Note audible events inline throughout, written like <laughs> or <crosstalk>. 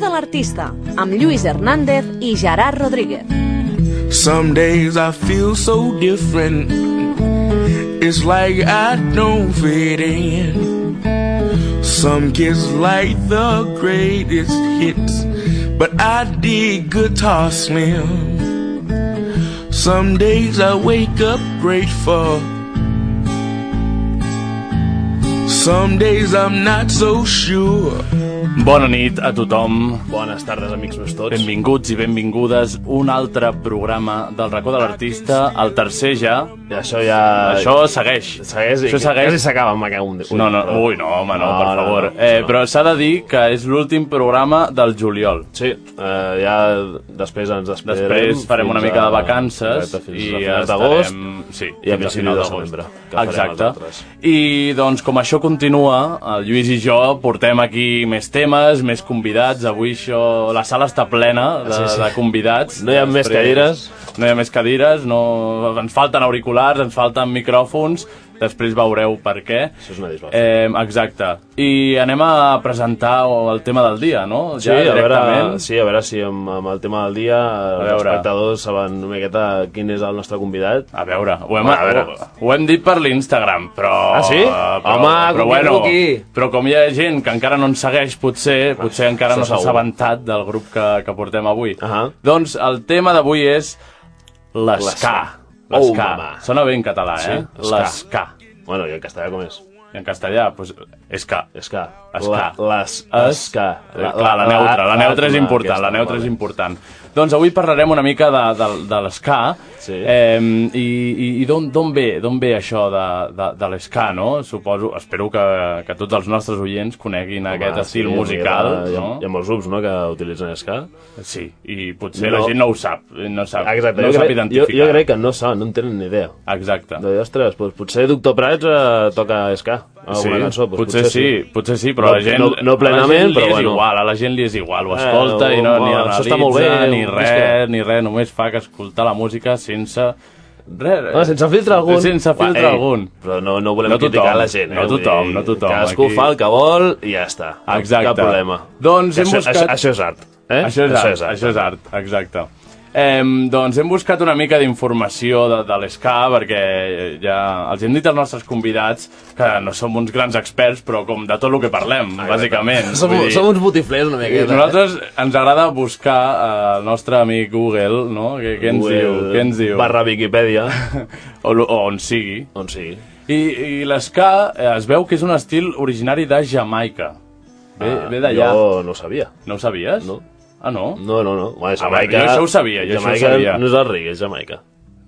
de l'artista, amb Lluís Hernández i Gerard Rodríguez. Some days I feel so different. It's like I don't fit in. Some kids like the greatest hits, but I dig guitar slim. Some days I wake up grateful. Some days I'm not so sure. Bona nit a tothom. Bones tardes, amics meus tots. Benvinguts i benvingudes a un altre programa del racó de l'artista, el tercer ja. I això ja... Això segueix. segueix. Això segueix. Quasi s'acaba, me cago en Déu. No, no, ui, no, home, no, per favor. no, Eh, no. però s'ha de dir que és l'últim programa del juliol. Sí, eh, ja després ens despedirem. Després farem una fins mica de a- vacances Correcte, fins i a finals d'agost d'agost. sí, i a fins principis final de d'agost. setembre, que farem Exacte. nosaltres. I doncs com això continua, el Lluís i jo portem aquí més temes, més convidats. Avui això, la sala està plena de, Sí, sí. de convidats. No hi ha més cadires. No hi ha més cadires, no... ens falten auriculars, ens falten micròfons. Després veureu per què. Això és una disbauxa. Eh, exacte. I anem a presentar el tema del dia, no? Sí, a veure, directament. sí, a veure si amb, amb el tema del dia els veure. Ah. espectadors saben una miqueta quin és el nostre convidat. A veure, ho hem, A veure. Ho, ho hem dit per l'Instagram, però... Ah, sí? Però, Home, però, convido bueno, aquí. però com hi ha gent que encara no ens segueix, potser potser encara això no s'ha segur. assabentat del grup que, que portem avui. Ahà. Doncs el tema d'avui és l'esca. L'esca. Oh, L'esca. mama. Sona bé en català, eh? Sí, esca. L'esca. Bueno, i en castellà com és? I en castellà, doncs, és que... Esca. Esca. La, les, Es- esca. Eh, clar, la neutra, la neutra és important, la aquesta, neutra és vale. important. Doncs avui parlarem una mica de, de, de l'esca Sí. eh, i, i, i d'on d'on ve, d'on ve això de, de, de l'esca, no? Suposo, espero que, que tots els nostres oients coneguin Home, aquest estil sí, musical, una miqueta, Hi ha, hi no? ha molts grups no, que utilitzen ska. Sí, i potser la No. gent no ho sap, no, sap, Exacte, Ah, no jo, ho sap crec, jo, identificar. jo crec que no saben, no en tenen ni idea. Exacte. De, ostres, doncs, potser Doctor Prats eh, toca ska, alguna cançó. Doncs, potser, sí, potser sí, però No- la gent, no- no plenament, a la gent li però és bueno. igual, a la gent li és igual, ho escolta Eh, i no, ni bueno, això analitza, està molt bé, ni és res, que- ni res, només fa que escoltar la música sense... Res, Ah, sense filtre algun. eh, Sense Va, filtre ei, algun. Però no, no volem No tothom, criticar la gent. Eh? no Vull tothom, dir, no tothom, Cadascú aquí. fa el que vol i ja està. Cap- Exacte. Cap problema. Doncs hem això, buscat- Això, això és art. Eh? Això és, art, això és art, exacte. Eh, doncs hem buscat una mica d'informació de, de l'ESCA perquè ja els hem dit als nostres convidats que no som uns grans experts però com de tot el que parlem, bàsicament. Som, Vull dir- som uns botiflers una I miqueta. eh? nosaltres ens agrada buscar eh, el nostre amic Google, no? Què, què ens Google diu? Què ens diu? Barra Wikipedia, <laughs> O, lo- o on sigui. on sigui. I, i l'esca eh, es veu que és un estil originari de Jamaica. Ve, Ah, ve d'allà. Jo no ho sabia. No ho sabies? No. Ah, no? No, no, no. Bueno, Ah, bueno, Jamaica, jo això ho sabia, jo això ho Jamaica sabia. no és el reggae, és Jamaica.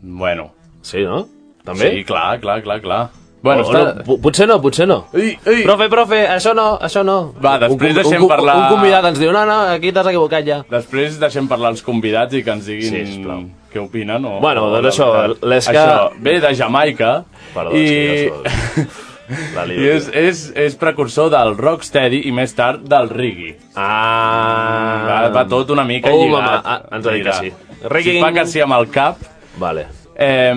Bueno. Sí, no? Mm. També? Sí, clar, clar, clar, clar. Bueno, O- o està... no, po- potser no, potser no. Ei, ei. Profe, profe, això no, això no. Va, després un, deixem un, parlar- Un convidat ens diu, no, no, aquí t'has equivocat ja. Després deixem parlar els convidats i que ens Sí, diguin sisplau. què opinen. O, Bueno, o doncs la això, veritat. l'esca- Això ve de Jamaica Perdó, i... és <laughs> que ja sóc- La I lío. és, és, és precursor del rocksteady i més tard del reggae. Ah, Va, va tot una mica Oh, lligat. mama, ah, ens ha dit que sí. Reggae... Reggae. Si fa que sí amb el cap, Vale. eh,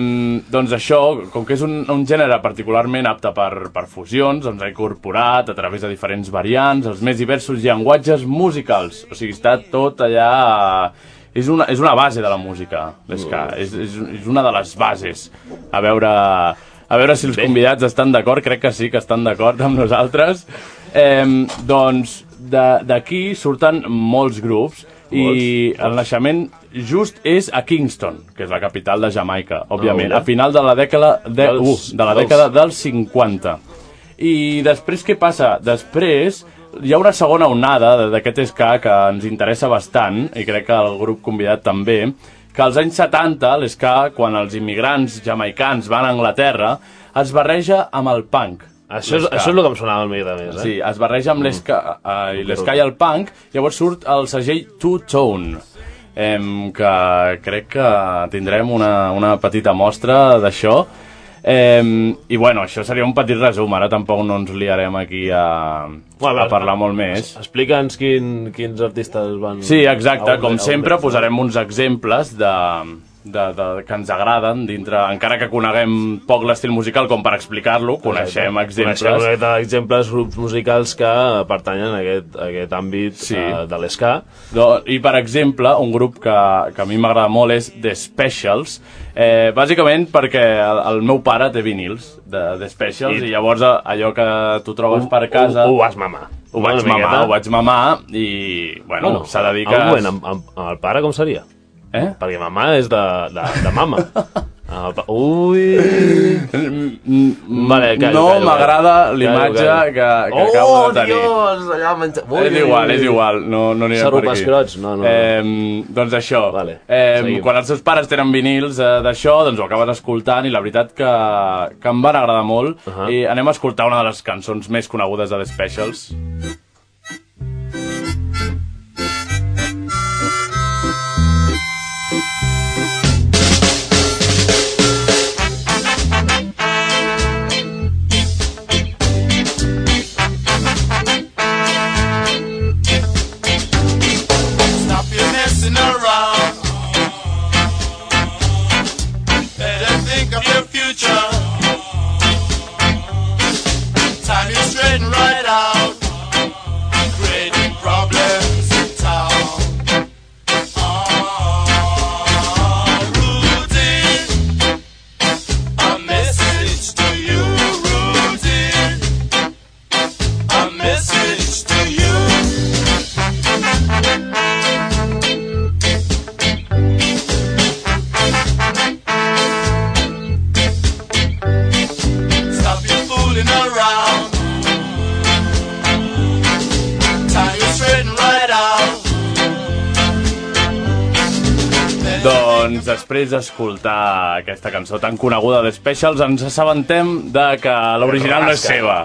doncs això, com que és un, un gènere particularment apte per, per fusions, doncs ha incorporat a través de diferents variants els més diversos llenguatges musicals. O sigui, està tot allà... És una, és una base de la música, l'esca. És, és, és una de les bases. A veure... A veure si els convidats estan d'acord, crec que sí que estan d'acord amb nosaltres. Eh, doncs de- d'aquí surten molts grups i el naixement just és a Kingston, que és la capital de Jamaica, òbviament, Ah, a final de la dècada de, uh, Dels- de la dels- dècada dels 50. I després què passa? Després hi ha una segona onada de- d'aquest ska que ens interessa bastant, i crec que el grup convidat també, que als anys 70 l'ska, quan els immigrants jamaicans van a Anglaterra, es barreja amb el punk. Això és, L'esca. això és el que em sonava una miqueta més, eh? Sí, es barreja amb l'esca eh, i l'esca i el punk, llavors surt el segell Two Tone, em, que crec que tindrem una, una petita mostra d'això. Em, I bueno, això seria un petit resum, ara tampoc no ens liarem aquí a, Bueno, a parlar molt més. Explica'ns quin, quins artistes van... Sí, exacte, on- com on- sempre posarem uns exemples de, de, de, que ens agraden, dintre, encara que coneguem poc l'estil musical com per explicar-lo, coneixem exemples. Coneixem exacte, exemples, grups musicals que eh, pertanyen a aquest, a aquest àmbit Sí. sí. uh, de l'esca. Do- I, per exemple, un grup que, que a mi m'agrada molt és The Specials, eh, bàsicament perquè el, el meu pare té vinils de The Specials i, I- i llavors eh, allò que tu trobes per casa... Ho, ho vas mamar. ho vaig Una miqueta. mamar, ho vaig mamar i, bueno, Bueno, s'ha de dir que... Un moment, amb, amb, amb el pare com seria? Eh? Perquè mamà és de, de, de <laughs> mama. Amb el pa- Ui... Vale, callo, no callo, m'agrada callo. l'imatge Callo, que, callo. que acabo oh, de tenir. Dios, allà menja... És igual, és igual, no, no anirem per aquí. Sarupascrots, no, no, no. <laughs> Eh, doncs això, Vale, eh, seguim. quan els seus pares tenen vinils eh, d'això, doncs ho acabes escoltant i la veritat que, que em van agradar molt. Uh Ahà. -huh. I anem a escoltar una de les cançons més conegudes de The Specials. Stop your messing around. Better think of your future. Time you straighten right out. Creating problems in town. Oh, Rudy, a message to you, Rudy. A message to you. Stop your fooling around. Time you straighten right out. Doncs després d'escoltar aquesta cançó tan coneguda de The Specials, ens assabentem de que l'original no és Rasca. seva.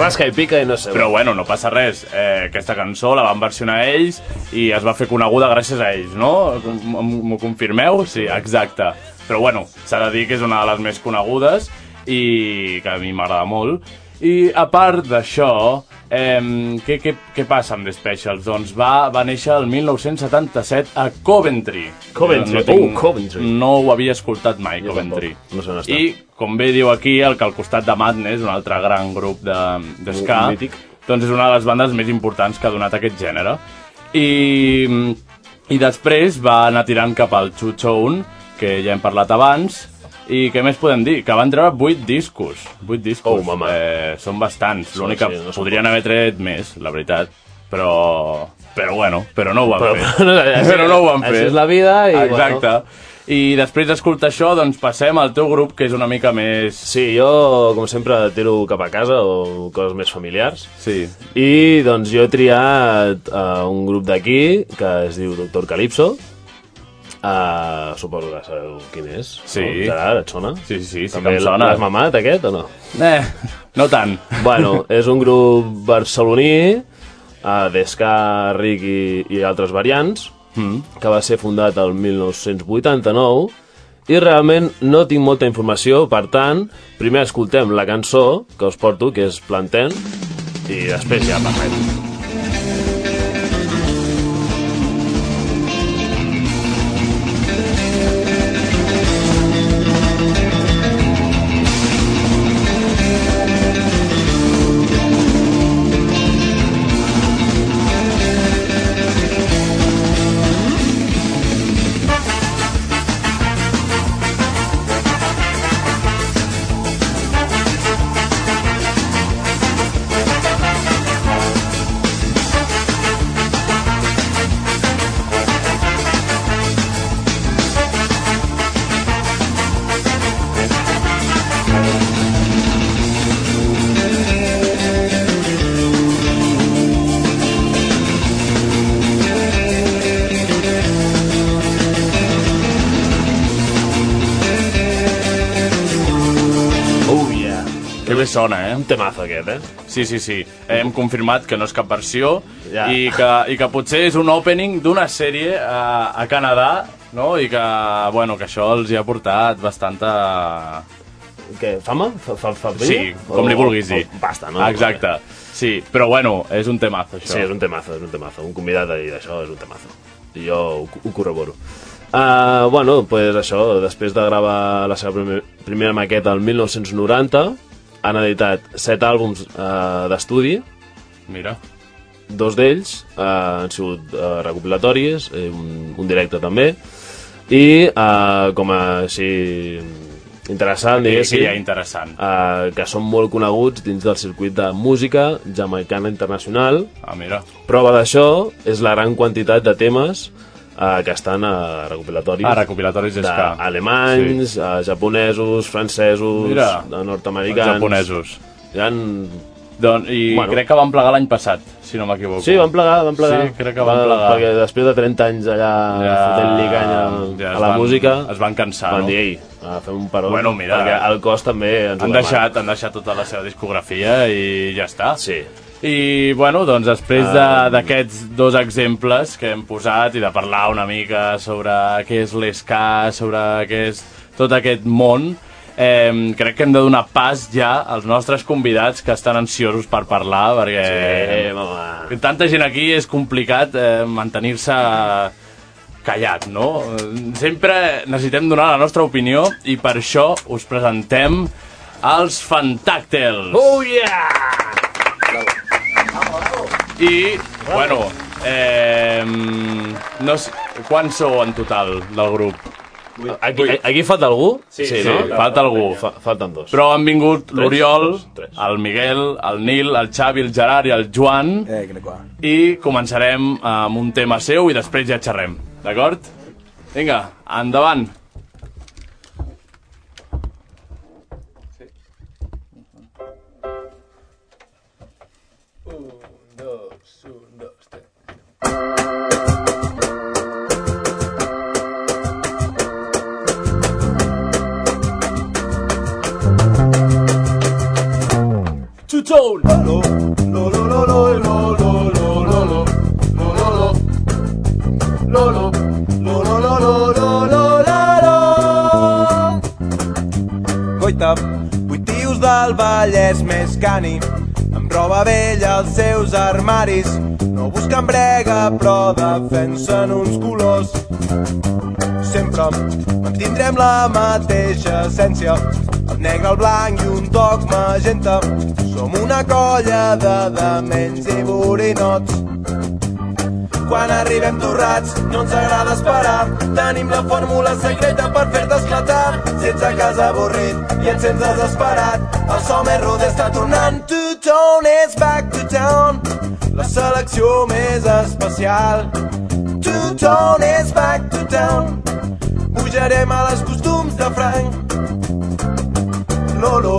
Rasca i pica i no sé. Però bueno, no passa res. Eh, aquesta cançó la van versionar ells i es va fer coneguda gràcies a ells, no? Com- m- M'ho confirmeu? Sí, exacte. Però bueno, s'ha de dir que és una de les més conegudes i que a mi m'agrada molt. I a part d'això, eh, què, què, què passa amb The Specials? Doncs va, va néixer el 1977 a Coventry. Coventry. Jo Oh, Coventry. No ho havia escoltat mai, Coventry. tampoc. No sé on està. I, com bé diu aquí, el que al costat de Madness, un altre gran grup de, de ska, mític. doncs és una de les bandes més importants que ha donat aquest gènere. I, i després va anar tirant cap al Chuchone, que ja hem parlat abans, i què més podem dir? Que van treure 8 discos. 8 discos. Oh, mama. eh, són bastants. L'únic que sí, no són podrien haver tret més, la veritat. Però... Però bueno, però no ho van Però- <laughs> fer. així- <laughs> però no ho van fer. així és la vida i, Exacte. I després d'escoltar això, doncs passem al teu grup, que és una mica més... Sí, jo, com sempre, tiro cap a casa o coses més familiars. Sí. I doncs jo he triat uh, un grup d'aquí que es diu Doctor Calypso. Uh, suposo que sabeu quin és. Sí. No? Gerard, et sona? Sí, sí, sí També que em sona. l'has mamat, aquest, o no? Eh, no tant. Bueno, és un grup barceloní, uh, d'Esca, Ric i, i altres variants, mm. que va ser fundat el 1989, i realment no tinc molta informació, per tant, primer escoltem la cançó que us porto, que és Planten, i després ja parlem. Oh, yeah! Que bé sona, eh? Un temazo aquest, eh? Sí, sí, sí. Hem confirmat que no és cap versió Ja. i, que, i que potser és un opening d'una sèrie a, a Canadà, no? I que, bueno, que això els hi ha portat bastanta... Què, fama? Fa, fa, fa Sí, com li vulguis dir. O, basta, no? Exacte. Sí, però bueno, és un temazo, això. Sí, és un temazo, és un temazo. Un convidat a dir d'això és un temazo. I jo ho, ho corroboro. Uh, Uh, bueno, pues això, després de gravar la seva primer, primera maqueta el 1990, han editat set àlbums uh, d'estudi, Mira. dos d'ells uh, han sigut uh, recopilatoris, eh, un, un directe també, i uh, com a així interessant, Sí, diguéssim, sí, ja interessant. eh, que són molt coneguts dins del circuit de música jamaicana internacional. Ah, mira. Prova d'això és la gran quantitat de temes eh, que estan a recopilatoris Ah, recopilatoris és que... d'alemanys, sí. eh, japonesos, francesos, Mira, de Els nord-americans... japonesos. Hi ha... Doncs, I Bueno. crec que van plegar l'any passat, si no m'equivoco. Sí, van plegar, van plegar. Sí, crec que van plegar. Perquè després de 30 anys allà ja, fotent-li canya a ja es la van- música, Es van cansar, van no? dir, ei, eh, fem un paró, Bueno, mira, perquè el cos també ens ho Han demana. deixat, han deixat tota la seva discografia i ja està. Sí. Ah. I, bueno, doncs després de- d'aquests dos exemples que hem posat i de parlar una mica sobre què és l'esca, sobre què és tot aquest món, eh, crec que hem de donar pas ja als nostres convidats que estan ansiosos per parlar, perquè Eh, mama. eh, tanta gent aquí és complicat eh, mantenir-se callat, no? Eh, Sempre necessitem donar la nostra opinió i per això us presentem els Fantàctels. Oh yeah! I, bueno, eh, no sé, quants sou en total del grup? Aquí, aquí falta algú? Sí, sí, falta algú. Fa, falten dos. Però han vingut l'Oriol, dos, tres. el Miguel, el Nil, el Xavi, el Gerard i el Joan. Eh, crec que I començarem amb un tema seu i després ja xerrem, d'acord? Vinga, endavant. Goita, vuit tios del Vallès més cani, amb roba vella als seus armaris. No busquen brega, però defensen uns colors. Sempre mantindrem la mateixa essència, el negre, el blanc i un toc magenta. Som una colla de dements i borinots. Quan arribem torrats, no ens agrada esperar. Tenim la fórmula secreta per fer-te esclatar. Si ets a casa avorrit i et sents desesperat, el so més roder està tornant. To town is back to town. La selecció més especial. To town is back to town. Pujarem a les costums de Frank. Lolo,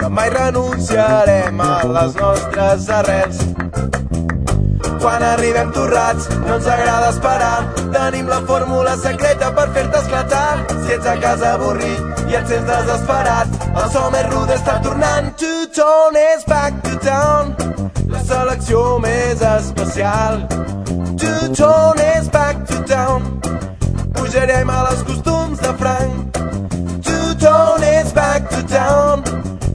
que mai renunciarem a les nostres arrels. Quan arribem torrats, no ens agrada esperar. Tenim la fórmula secreta per fer-te esclatar. Si ets a casa avorrit i et sents desesperat, el so més rude està tornant. To town is back to town. La selecció més especial. To town is back to town. Pujarem a les costums de Frank. To town is back to town.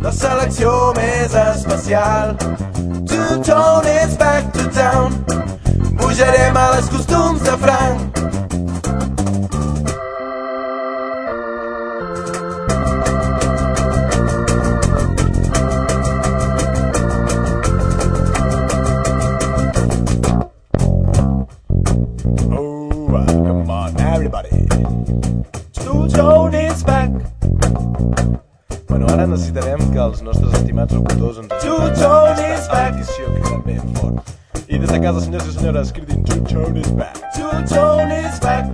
La selecció més especial. To town is back to town. Pujarem a les costums de Frank. Oh, uh, come on, everybody. To town is back. Bueno, ara necessitarem que els nostres estimats locutors ens ajudin amb aquesta petició cridant ben fort. I des de casa, senyors i senyores, cridin To Tone is back. To Tone is back.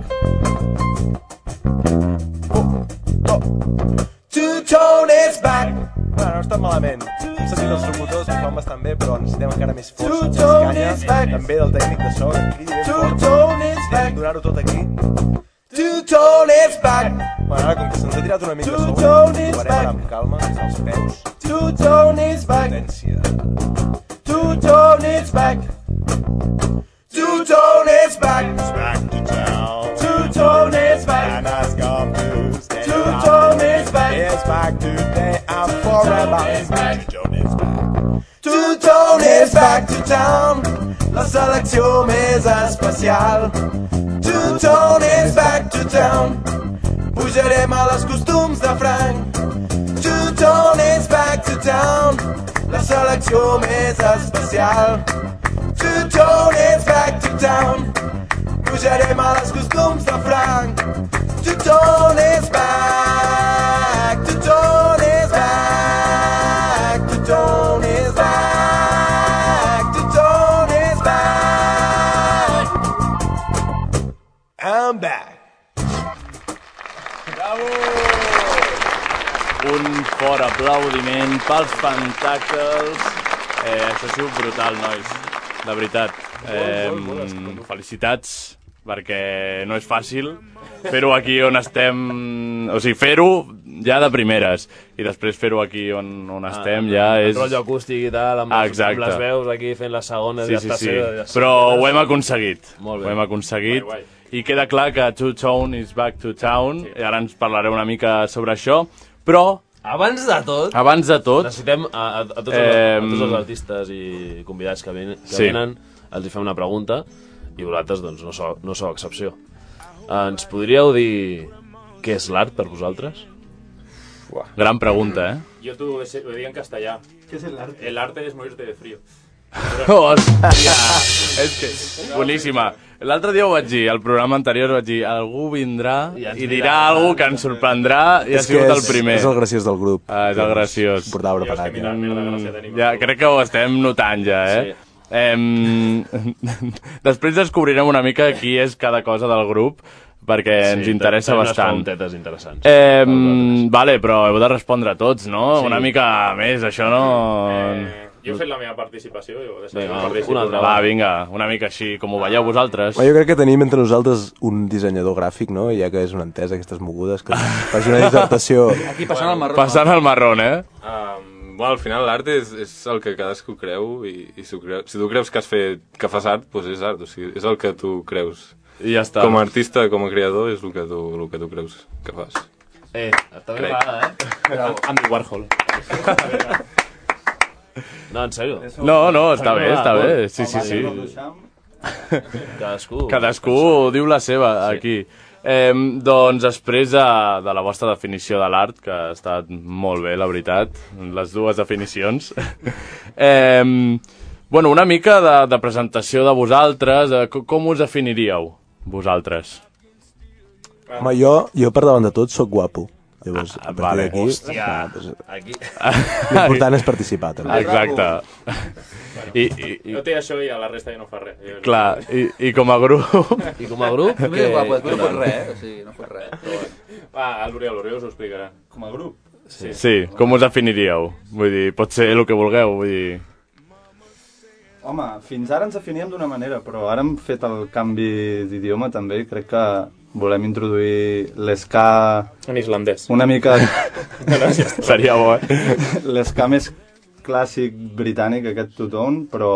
Oh, oh. To Tone is back. Bueno, no està malament. Hem sentit els locutors que ho fan bastant bé, però necessitem encara més força, més canya, també del tècnic de so, que cridi ben fort. Necessitem donar-ho tot aquí. To Tony's back. Bueno, ara, com que se'ns ha tirat una mica a Tu sobre, donis ho farem ara back. amb calma, des dels peus, Two Tony's back. potència. Two Tony's back. Two Tony's back. Back to town. Two Tony's back. And has come to stay. Two Tony's back. It's back today and forever. Tony's back. Two Tony's back. Two Tony's back to town. La selecció més especial. Two Tony's back to town. Pujarem a les costums de Frank. Two Tony's back to town. La selecció més especial. Two Tony's back to town. Pujarem a les costums de Frank. Two Tony's back. Two Tony's back. Two Tony's back. Two Tony's back. I'm back. Un fort aplaudiment pels Pentacles. Eh, això ha sigut brutal, nois. De veritat. Eh, felicitats, perquè no és fàcil fer-ho aquí on estem... O sigui, fer-ho ja de primeres. I després fer-ho aquí on, Ah, on estem ja és... Rotllo acústic i tal, amb, les, Exacte. amb les veus aquí fent les segones Sí, i les sí, sí. terceres. i les Però ho cinquenes. hem aconseguit. Molt bé. Ho hem aconseguit. I queda clar que To Town is back to town. I ara ens parlaré una mica sobre això. Però, Abans de tot... abans de tot, Necessitem a, a, a, tots, els, a Ah. Em, tots els artistes i convidats que, ven, que Sí. venen, els hi fem una pregunta i vosaltres doncs, no, sou, no sou excepció. Eh, Ens podríeu dir què és l'art per vosaltres? gran pregunta, eh? Yo tú ese- lo digo en castellano. ¿Qué es el arte? El arte es morirte de frío. <laughs> Hòstia! és que... Boníssima. L'altre dia ho vaig dir, al programa anterior vaig dir algú vindrà I ens i dirà mirarà. alguna que ens sorprendrà i ha És que sigut el és- primer. és el graciós del grup. Doncs Ah, és el graciós. Portava preparat, ja. Mira, mira la gracia tenim. Ah, Ja, crec que ho estem notant ja, eh? Sí. Em... <laughs> Després descobrirem una mica qui és cada cosa del grup, perquè sí, ens interessa Tenim unes bastant. preguntetes interessants. Eh, vale, però heu de respondre a tots, no? Sí. Una mica més, això no... Eh, yo soy la mía participación. Yo de Vinga, la participación. una altra. Va, vinga, una mica així, com ho veieu vosaltres. Home, jo crec que tenim entre nosaltres un dissenyador gràfic, no? Ja que és una entesa, aquestes mogudes, que faci una dissertació... Aquí passant el marró. Passant al marrón, eh? Um, bueno, al final l'art és, és el que cadascú creu i, i si, ho creu, si tu creus que has fet que fas art, doncs és art, o sigui, és el que tu creus. I ja està. Com a artista, com a creador, és el que tu, el que tu creus que fas. Eh, està ben parada, eh? Andy Warhol. No, en sèrio. No, no, està bé, està bé. Sí, sí, sí. Cadascú. Cadascú diu la seva, aquí. Eh, doncs després de, de la vostra definició de l'art, que ha estat molt bé, la veritat, les dues definicions. <laughs> eh, bueno, una mica de, de presentació de vosaltres, eh, co- com us definiríeu, vosaltres? Home, jo, jo per davant de tot sóc guapo. Llavors, ah, a partir vale. d'aquí... Hòstia. ah, doncs, Aquí. L'important és participar, també. <laughs> Exacte. I, i, i, Yo te eso y a la resta yo no farré. Yo- clar, i, i com a grup... I com a grup, Tu que... mira guapo, tu no fots res, eh? O sigui, no fots res. Però bueno. Ah, al L'Oriol, l'Oriol us ho explicarà. Com a grup? Sí, com us definiríeu? Vull dir, pot ser el que vulgueu, vull dir... Home, fins ara ens definíem d'una manera, però ara hem fet el canvi d'idioma també i crec que volem introduir l'esca En islandès. una mica... <laughs> Seria bo, eh? l'esca més clàssic britànic, aquest tutón, però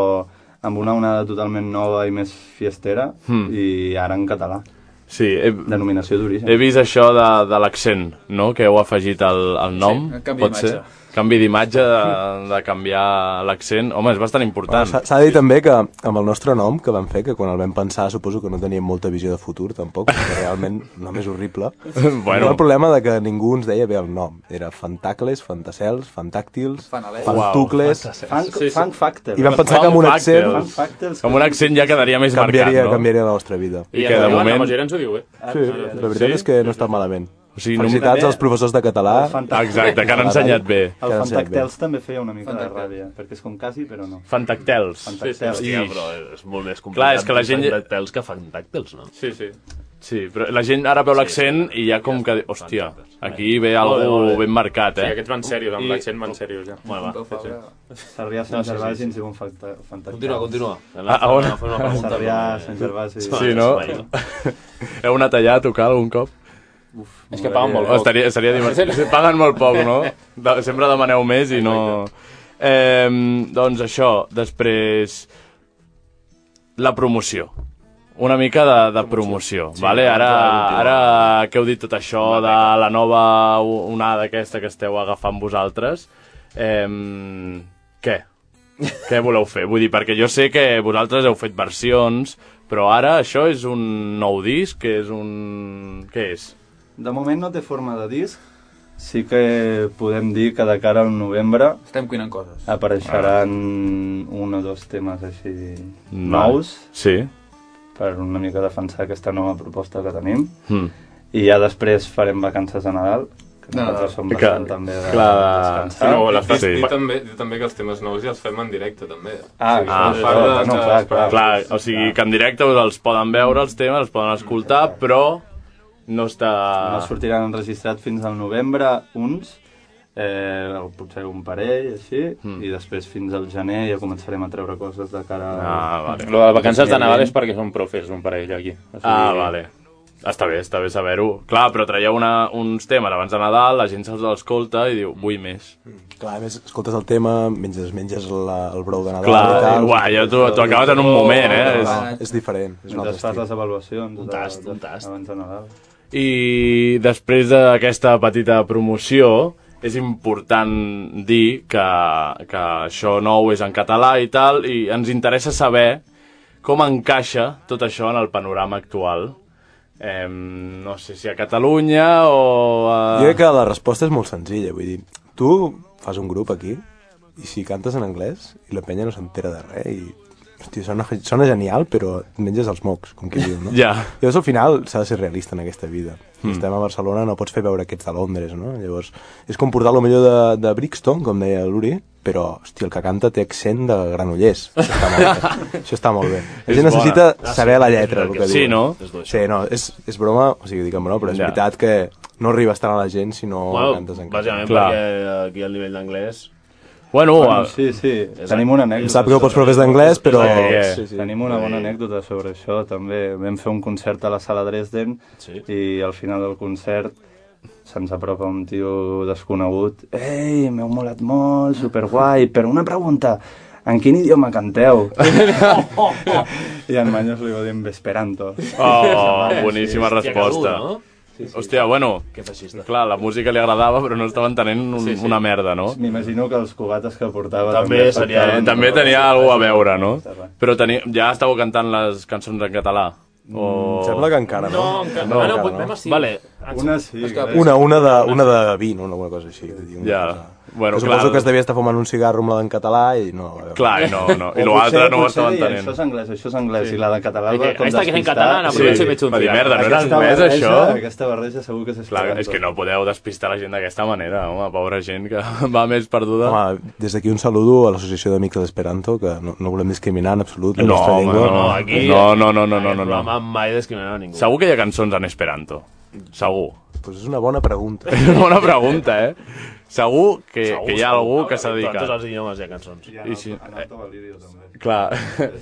amb una onada totalment nova i més fiestera, mm. i ara en català, Sí, he, denominació d'origen. he vist això de, de l'accent, no?, que heu afegit al, al nom, el canvi pot d'imatge. ser? Canvi d'imatge, de, de canviar l'accent... Home, és bastant important. S'ha s'ha de dir també que amb el nostre nom que vam fer, que quan el vam pensar suposo que no teníem molta visió de futur tampoc, perquè realment el nom és horrible. Bueno. Era El problema de que ningú ens deia bé el nom. Era Fantacles, Fantacels, Fantàctils, Fanalets. Fantucles... Funk, sí, sí. funk factor. I vam pensar que amb un accent Funk factors. Amb un accent ja quedaria més canviaria, marcat, no? canviaria la nostra vida. I que de La moment... majoria ens ho diu, eh? Sí, la veritat és que no està malament. O sigui, no... Felicitats als professors de català. El fantac- Exacte, que han ensenyat bé. El Queda sec, bé. Fantactels també feia una mica de ràbia, perquè és com quasi, però no. Fantactels. Fantactels. Hòstia, però és molt més complicat. Clar, és que la gent- dir Fantàctils que fan tàctils, no? Sí, sí. Sí, però la gent ara veu l'accent i ja com que... Hòstia, aquí ve algú ben marcat, I eh? aquests van serios, amb l'accent van serios, ja. Bueno, Pau Fabra. Sarrià Sant Gervasi ens diu un fanta- fantactels. Continua, continua. Ah, a on? Fem una pregunta. Sarrià, Sant Gervasi... Sí, no? Heu anat allà a tocar algun cop? Eh, Uf, És que paguen molt poc. Estaria, estaria divertit. <laughs> Sí, paguen molt poc, no? De, sempre demaneu més i no... Eh, doncs això, després... La promoció. Una mica de, de promoció, sí, vale? Ara, ara que heu dit tot això de la nova onada aquesta que esteu agafant vosaltres, eh, què? Què voleu fer? Vull dir, perquè jo sé que vosaltres heu fet versions, però ara això és un nou disc, que és un... què és? De moment no té forma de disc, sí que podem dir que de cara al novembre Estem cuinant coses. Ah. apareixeran un o dos temes així nous Sí. per una mica defensar aquesta nova proposta que tenim Mm. i ja després farem vacances a Nadal que No, nosaltres som que- bastant també de, clar, de Sí, Eh, descansar no, eh, la Sí. festa. Ah, Sí. També, dir també que els temes nous ja els fem en directe, també. Ah, clar, clar, clar, no, clar, clar. clar, o sigui, que en directe us els poden veure, els temes, els poden escoltar, però no està... no sortiran enregistrats fins al novembre, uns, eh, potser un parell, així, Hmm. mm. i després fins al gener ja començarem a treure coses de cara... Ah, al- Ah, Lo de vacances de Nadal és perquè són profes, un parell aquí. O Ah, vale. Està bé, està bé saber-ho. Clar, però traieu una, uns temes abans de Nadal, la gent se'ls escolta i diu, vull més. Clar, a més, escoltes el tema, menges, menges la, el brou de Nadal Clar, i tal. uà, ja t'ho- t'ho acabes en un moment, No, eh? no, És- és diferent, és un altre Mentre fas estil. les avaluacions un tast, de, un tast. abans de Nadal. I després d'aquesta petita promoció, és important dir que, que això nou és en català i tal, i ens interessa saber com encaixa tot això en el panorama actual. Eh, no sé si a Catalunya o... A... Jo crec que la resposta és molt senzilla, vull dir, tu fas un grup aquí i si cantes en anglès i la penya no s'entera de res i... Hòstia, sona, sona genial, però et menges els mocs, com qui diu, no? <laughs> Ja. Llavors, al final, s'ha de ser realista en aquesta vida. Mm. Mm. Estem a Barcelona, no pots fer veure aquests de Londres, no? Llavors, és com portar lo millor de, de Brixton, com deia l'Uri, però, hòstia, el que canta té accent de granollers. Això està molt <laughs> bé. Això està molt bé. És La gent necessita bona. saber la lletra, el que Sí, diuen. no? Sí, no, és, és broma, o sigui, dic en broma, però és Ja. veritat que no arribes tant a la gent si no Bueno, cantes en bàsicament Clar. perquè eh, aquí el nivell d'anglès... Bueno, Bueno, sí, sí, tenim una anècdota. Sap que ho pots profes d'anglès, però... Sí, sí. Tenim una bona anècdota sobre això, també. Vam fer un concert a la sala Dresden sí. i al final del concert se'ns apropa un tio desconegut. Ei, m'heu molat molt, superguai, però una pregunta, en quin idioma <laughs> canteu? I en Manyos li va dir en Vesperanto. Oh, boníssima resposta. Sí, sí. Hòstia, bueno, Que feixista. clar, la música li agradava, però no estava entenent un, sí, Sí, sí. sí. una merda, no? M'imagino que els cubates que portava També també seria- afectaven, Eh, També però- tenia alguna a veure, no? Però teni... ja estàveu cantant les cançons en català? O... Mm, sembla que encara no. No, encara no. Ah, no, vuit temes sí. Vale. Una sí. Una, una, de, una de 20, una, una cosa així. vull dir, Una Ja. cosa. Bueno, que suposo clar. que es devia estar fumant un cigarro amb la en català i no la va veure. Clar, i no, no. I O l'altre potser- no ho potser estava deia, entenent. Això és anglès, això és anglès, i la de català el Dice, va com "Esta que es en despistar. català, la aprovecho y me echo un Va dir, cigarro". merda, no era Aquesta anglès, barreja- això? Aquesta barreja segur que és Clar, esperanto. és que no podeu despistar la gent d'aquesta manera, home, pobra gent que <laughs> va més perduda. Home, des d'aquí un saludo a l'Associació d'Amics d'Esperanto, que no, no volem discriminar en absolut la No, nostra home, llengua. no, aquí... No, no, no, no, no, no, no. Home, mai discriminarà ningú. Segur que hi ha cançons en esperanto. Segur. <laughs> Pues és una bona pregunta. És una bona pregunta, eh? Segur que, Segur, que hi ha segur. Doncs algú que s'ha En dedicat. Tots els idiomes hi ha cançons. I si... Clar,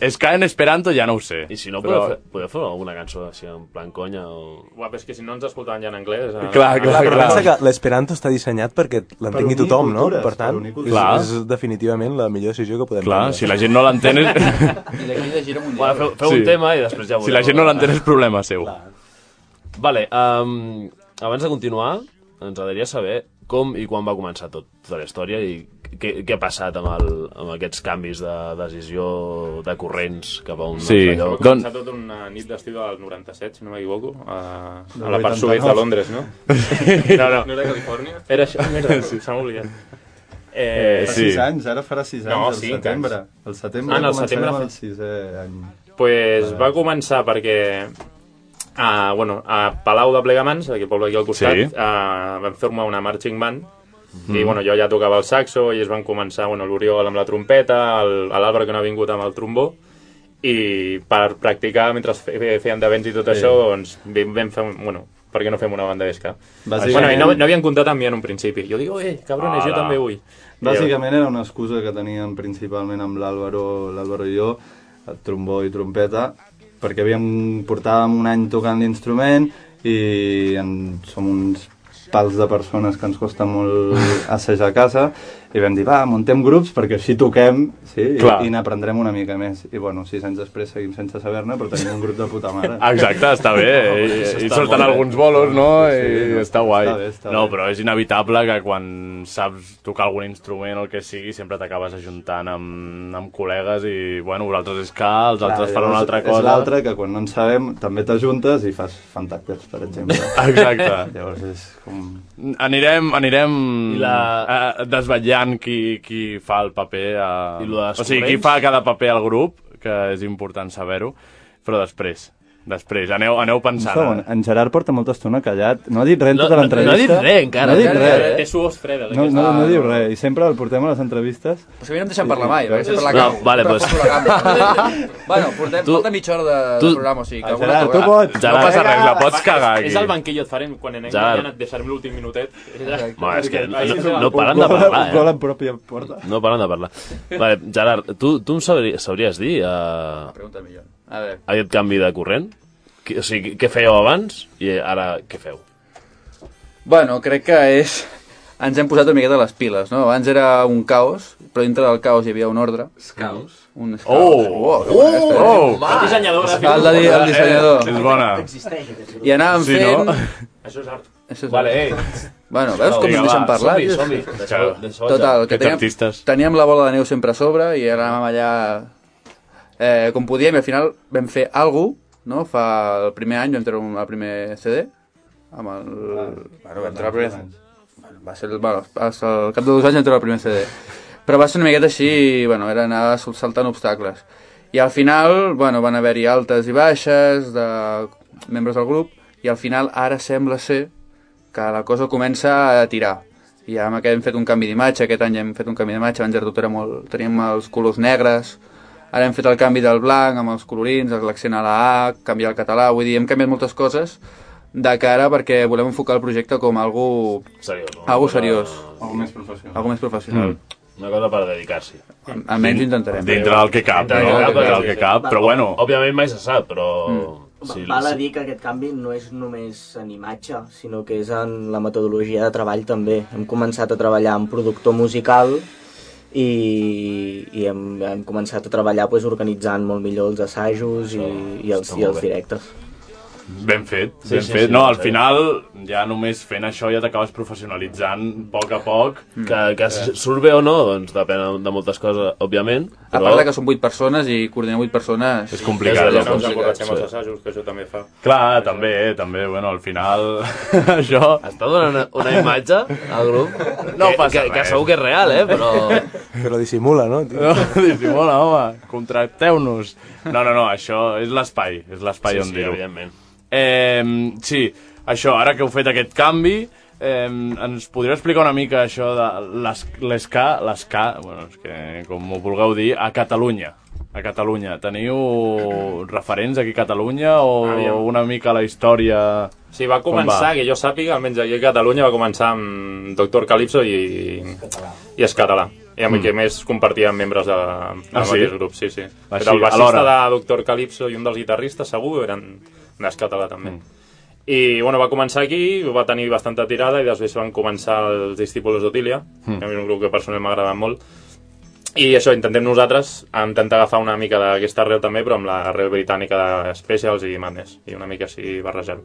és que en Esperanto ja no ho sé. I Si no, podeu, fer, podeu fer alguna cançó així en plan conya o... Guà, però és que si no ens escoltaven ja en anglès... eh? En... Però pensa que l'Esperanto està dissenyat perquè l'entengui Per unir tothom, no? cultures, Per tant, per unir és, cultures. és definitivament la millor decisió que podem Clar, prendre. si la gent no l'entén és- <laughs> I la de gira mundial. Bueno, feu, feu sí. un tema i després ja ho Si la gent no l'entén és problema seu. Vale, um, abans de continuar, ens agradaria saber com i quan va començar tot, tota la història i què, què ha passat amb, el, amb aquests canvis de decisió de corrents cap a un Sí, doncs, altre lloc. Va començar tot una nit d'estiu del 97, si no m'equivoco, a, a la part sud-est de Londres, <laughs> no? No, no. No era Califòrnia? Era això, merda, Sí. sí. se m'ha oblidat. Eh, fa sis anys, ara farà sis anys, No, al cinc setembre. anys. Al setembre Ah, no, al començarem setembre el sisè any. pues va començar perquè a, bueno, a Palau de Plegamans, aquí al poble aquí al costat, Sí. sí. a, van formar una marching band Mhm. i bueno, jo ja tocava el saxo i es van començar bueno, l'Oriol amb la trompeta, el- a l'Àlvaro que no ha vingut amb el trombó i per practicar mentre fe- fe- feien d'avents i tot Sí. sí. això doncs vam, vam fer, un- bueno, per què no fem una banda d'esca? Bàsicament- Bueno, i no, no havien comptat amb mi en un principi. Jo dic, oi, cabrones, jo Hola. també vull. Bàsicament era una excusa que teníem principalment amb l'Àlvaro l'Àlvaro i jo, el trombó i trompeta, perquè havíem portàvem un any tocant l'instrument i en, som uns pals de persones que ens costa molt assajar a casa i vam dir, va, muntem grups perquè així toquem sí, i, Clar. i n'aprendrem una mica més. I bueno, sis anys després seguim sense saber-ne, però tenim un grup de puta mare. Exacte, està bé. I, i surten alguns bolos, no? I està guai. Està bé, està no, bé. però és inevitable que quan saps tocar algun instrument, el que sigui, sempre t'acabes ajuntant amb, amb col·legues i, bueno, vosaltres és que els altres Clar, faran una Ah, llavors altra És cosa. l'altre que quan no en sabem també t'ajuntes i fas fantàctics, per exemple. Exacte. <laughs> Llavors és com... Anirem, anirem I la... eh, desvetllant qui, qui fa el paper. Eh... I lo dels o sigui, qui corrents? fa cada paper al grup, que és important saber-ho, però després. Després, aneu, aneu Un pensant. eh? segon, en Gerard porta molta estona callat, no ha dit res en tota No- no- no l'entrevista. ha dit res Ah, encara. No ha dit Té res. suor- té suor freda, No, no, aquesta. no diu res, i sempre el portem a les entrevistes. Però si a mi no em deixen parlar mai, perquè sempre la No, cago. vale, Sempre pues. foto la gamba. bueno, portem, tu, porta mitja hora de, tu- de programa, o sigui que Ah, alguna Gerard, tocarà. tu pots. No passa res, la pots cagar aquí. És el banquillo et farem quan anem Gerard. guanyant et deixarem l'últim minutet. Ma, és que no, Ahí no, serà. no paren de Un gol- parlar, un gol eh? en pròpia porta. No paren de parlar. Vale, Gerard, tu, tu em sabries, sabries dir eh, Pregunta millor. A veure, aquest canvi de corrent? Qui- O sigui, què fèieu abans i ara què feu? Bueno, crec que és... Ens hem posat una miqueta les piles, no? Abans era un caos, però dintre del caos hi havia un ordre. Escaus. Un escaus. Oh! que bona que és, però- Oh! La dissenyadora. Cal de dir el dissenyador. Eh, és bona. I anàvem Sí, fent... no? Això és art. Això és Vale, art. ei. Bueno, veus com Vinga, no deixen va, parlar? som-hi, som-hi. Deixeu- deixeu Total, que Aquests teníem, teníem la bola de neu sempre a sobre i anàvem allà eh, com podíem i al final vam fer alguna no? Fa el primer any vam treure un, el primer CD amb el... Ah, bueno, vam treure el primer... Bueno, va ser el, bueno, al cap de dos anys vam treure el primer CD. Però va ser una miqueta així, bueno, era anar saltant obstacles. I al final, bueno, van haver-hi altes i baixes de membres del grup, i al final ara sembla ser que la cosa comença a tirar. I amb aquest hem fet un canvi d'imatge, aquest any hem fet un canvi d'imatge, abans era tot era molt... teníem els colors negres, ara hem fet el canvi del blanc amb els colorins, l'accent a la A, canviar el català, vull dir, hem canviat moltes coses de cara perquè volem enfocar el projecte com algú... Seriós, no? Algo seriós. Algo més professional. Algo més professional. Mm. Una cosa per dedicar-s'hi. Almenys ho intentarem. eh? Dintre del que cap, Dintre del que no? cap, Dintre sí, del que sí. cap, però bueno. Òbviament mai se sap, però... Sí, Val a dir que aquest canvi no és només en imatge, sinó que és en la metodologia de treball també. Hem començat a treballar amb productor musical i, i hem, hem començat a treballar pues, organitzant molt millor els assajos i, i, els, està i molt els bé. directes. Ben fet, Sí, ben sí, fet. sí, no, sí, al sí. final, ja només fent això ja t'acabes professionalitzant a poc a poc. Que, que Eh. surt bé o no, doncs depèn de moltes coses, òbviament. A part de que són 8 persones i coordinar 8 persones... És complicat, eh? és és complicat. complicat. Corregem els assajos, que això també fa. Clar, també, eh, també, bueno, al final, això... Està donant una imatge al <laughs> grup? No que, passa que, que res. segur que és real, eh? Però... Però dissimula, no? tio? No, <laughs> dissimula, home, contracteu-nos. No, no, no, això és l'espai, és l'espai Sí, on sí, dir-ho. evidentment. Eh, sí, això, ara que heu fet aquest canvi, eh, ens podríeu explicar una mica això de les- l'esca, l'esca, bueno, és que com ho vulgueu dir, a Catalunya. A Catalunya. Teniu referents aquí a Catalunya o Aviam. una mica la història... Sí, va començar, que jo sàpiga, almenys aquí a Catalunya va començar amb Doctor Calypso i, i és català. I amb Mm. mm. qui més compartia amb membres de, del Ah, sí? mateix grup, sí, sí. Així, Era el bassista de alhora. Doctor Calypso i un dels guitarristes, segur, eren nas català també. Mm. I, bueno, va començar aquí, va tenir bastanta tirada i després van començar els Discípulos d'Otília, Mm. mm. que a mi és un grup que personalment m'ha agradat molt. I això, intentem nosaltres intentar agafar una mica d'aquesta arrel també, però amb l'arrel britànica de Specials i Madness, i una mica així barrejar-ho.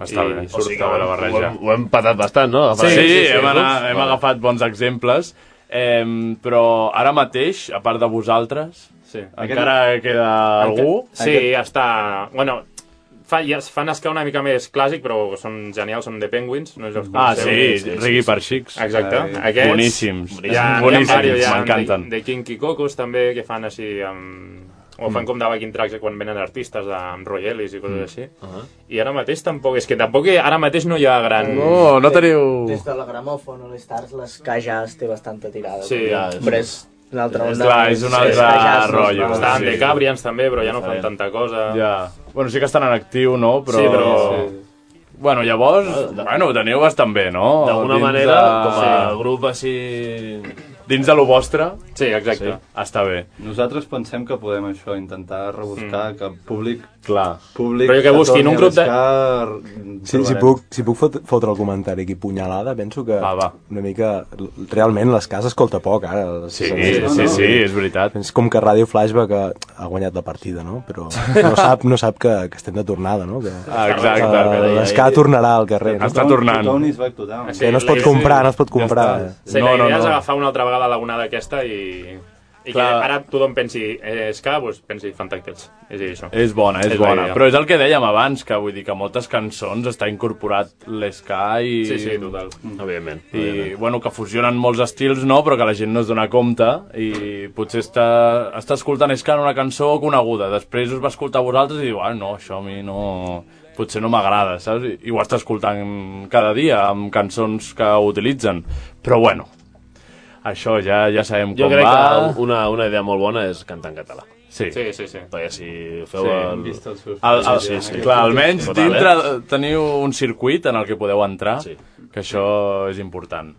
Està bé. I surt O sigui que que ho hem- la ho barreja. hem- Ho hem patat bastant, no? Sí, Agafant- sí, sí, hem, grups. anar, hem Vale. agafat bons exemples, eh, però ara mateix, a part de vosaltres, sí. encara queda algú? Sí, està... Bueno, fa, ja es fan escar una mica més clàssic, però són genials, són The Penguins. No sé si els Ah, coneixeu. sí, Rigui per xics. Exacte. Ai. Aquests, Boníssims. Hi ha, Boníssims, hi ha diversos, hi ha m'encanten. De, de Kinky Cocos, també, que fan així amb... O fan Mm. com de backing tracks quan venen artistes de- amb Roy Ellis i coses Mm. així. Ahà. I ara mateix tampoc... És que tampoc hi- ara mateix no hi ha gran... No, no teniu- Des de la gramòfon o les stars, les jazz té bastanta tirada. Sí, ja, és- Però és una altra és onda. clar, és un altre ska jazz, no? rotllo. Estaven sí. de Cabrians, també, però ja no fan Diferent. tanta cosa. Ja. Bueno, sí que estan en actiu, no? Però... Sí, però- Ah, Bueno, llavors, bueno, ho teniu bastant bé, no? D'alguna Dins manera, com a Sí. grup així... Dins de lo vostre... Sí, exacte. Està bé. Nosaltres pensem que podem això, intentar rebuscar mm. que el públic Clar. Públic Però jo que busquin un grup de- Si, si, puc, si puc fot, fotre el comentari aquí punyalada, penso que va, va. una mica... Realment, les cases escolta poc, eh? ara. Sí, sí, sí, és veritat. És com que Ràdio Flashback ha, ha guanyat la partida, no? Però no sap, no sap que, que estem de tornada, no? Que, Ah, exacte. que L'escà tornarà al carrer. no? Està tornant. Que no es pot comprar, no es pot comprar. Sí, no, la idea no, no. és agafar una altra vegada l'onada aquesta i... I que Clar. ara tothom pensi eh, ska, doncs pensi Fantàctics. És a dir, això. És bona, és, és la bona. idea. Però és el que dèiem abans, que vull dir que a moltes cançons està incorporat l'esca i... Sí, sí, total. Mm. Evidentment. I, bueno, que fusionen molts estils, no, però que la gent no es dona compte i potser està, està escoltant esca en una cançó coneguda, després us va escoltar a vosaltres i diu, ah, no, això a mi no... potser no m'agrada, saps? I, I ho està escoltant cada dia amb cançons que utilitzen. Però bueno, això ja ja sabem Jo com crec va. que una, una idea molt bona és cantar en català. Sí. Sí, sí, sí. Perquè si feu Sí, el... vist els seus El, el, sí, sí, sí. Clar, almenys Total, eh? dintre teniu un circuit en el que podeu entrar, sí. que això és important.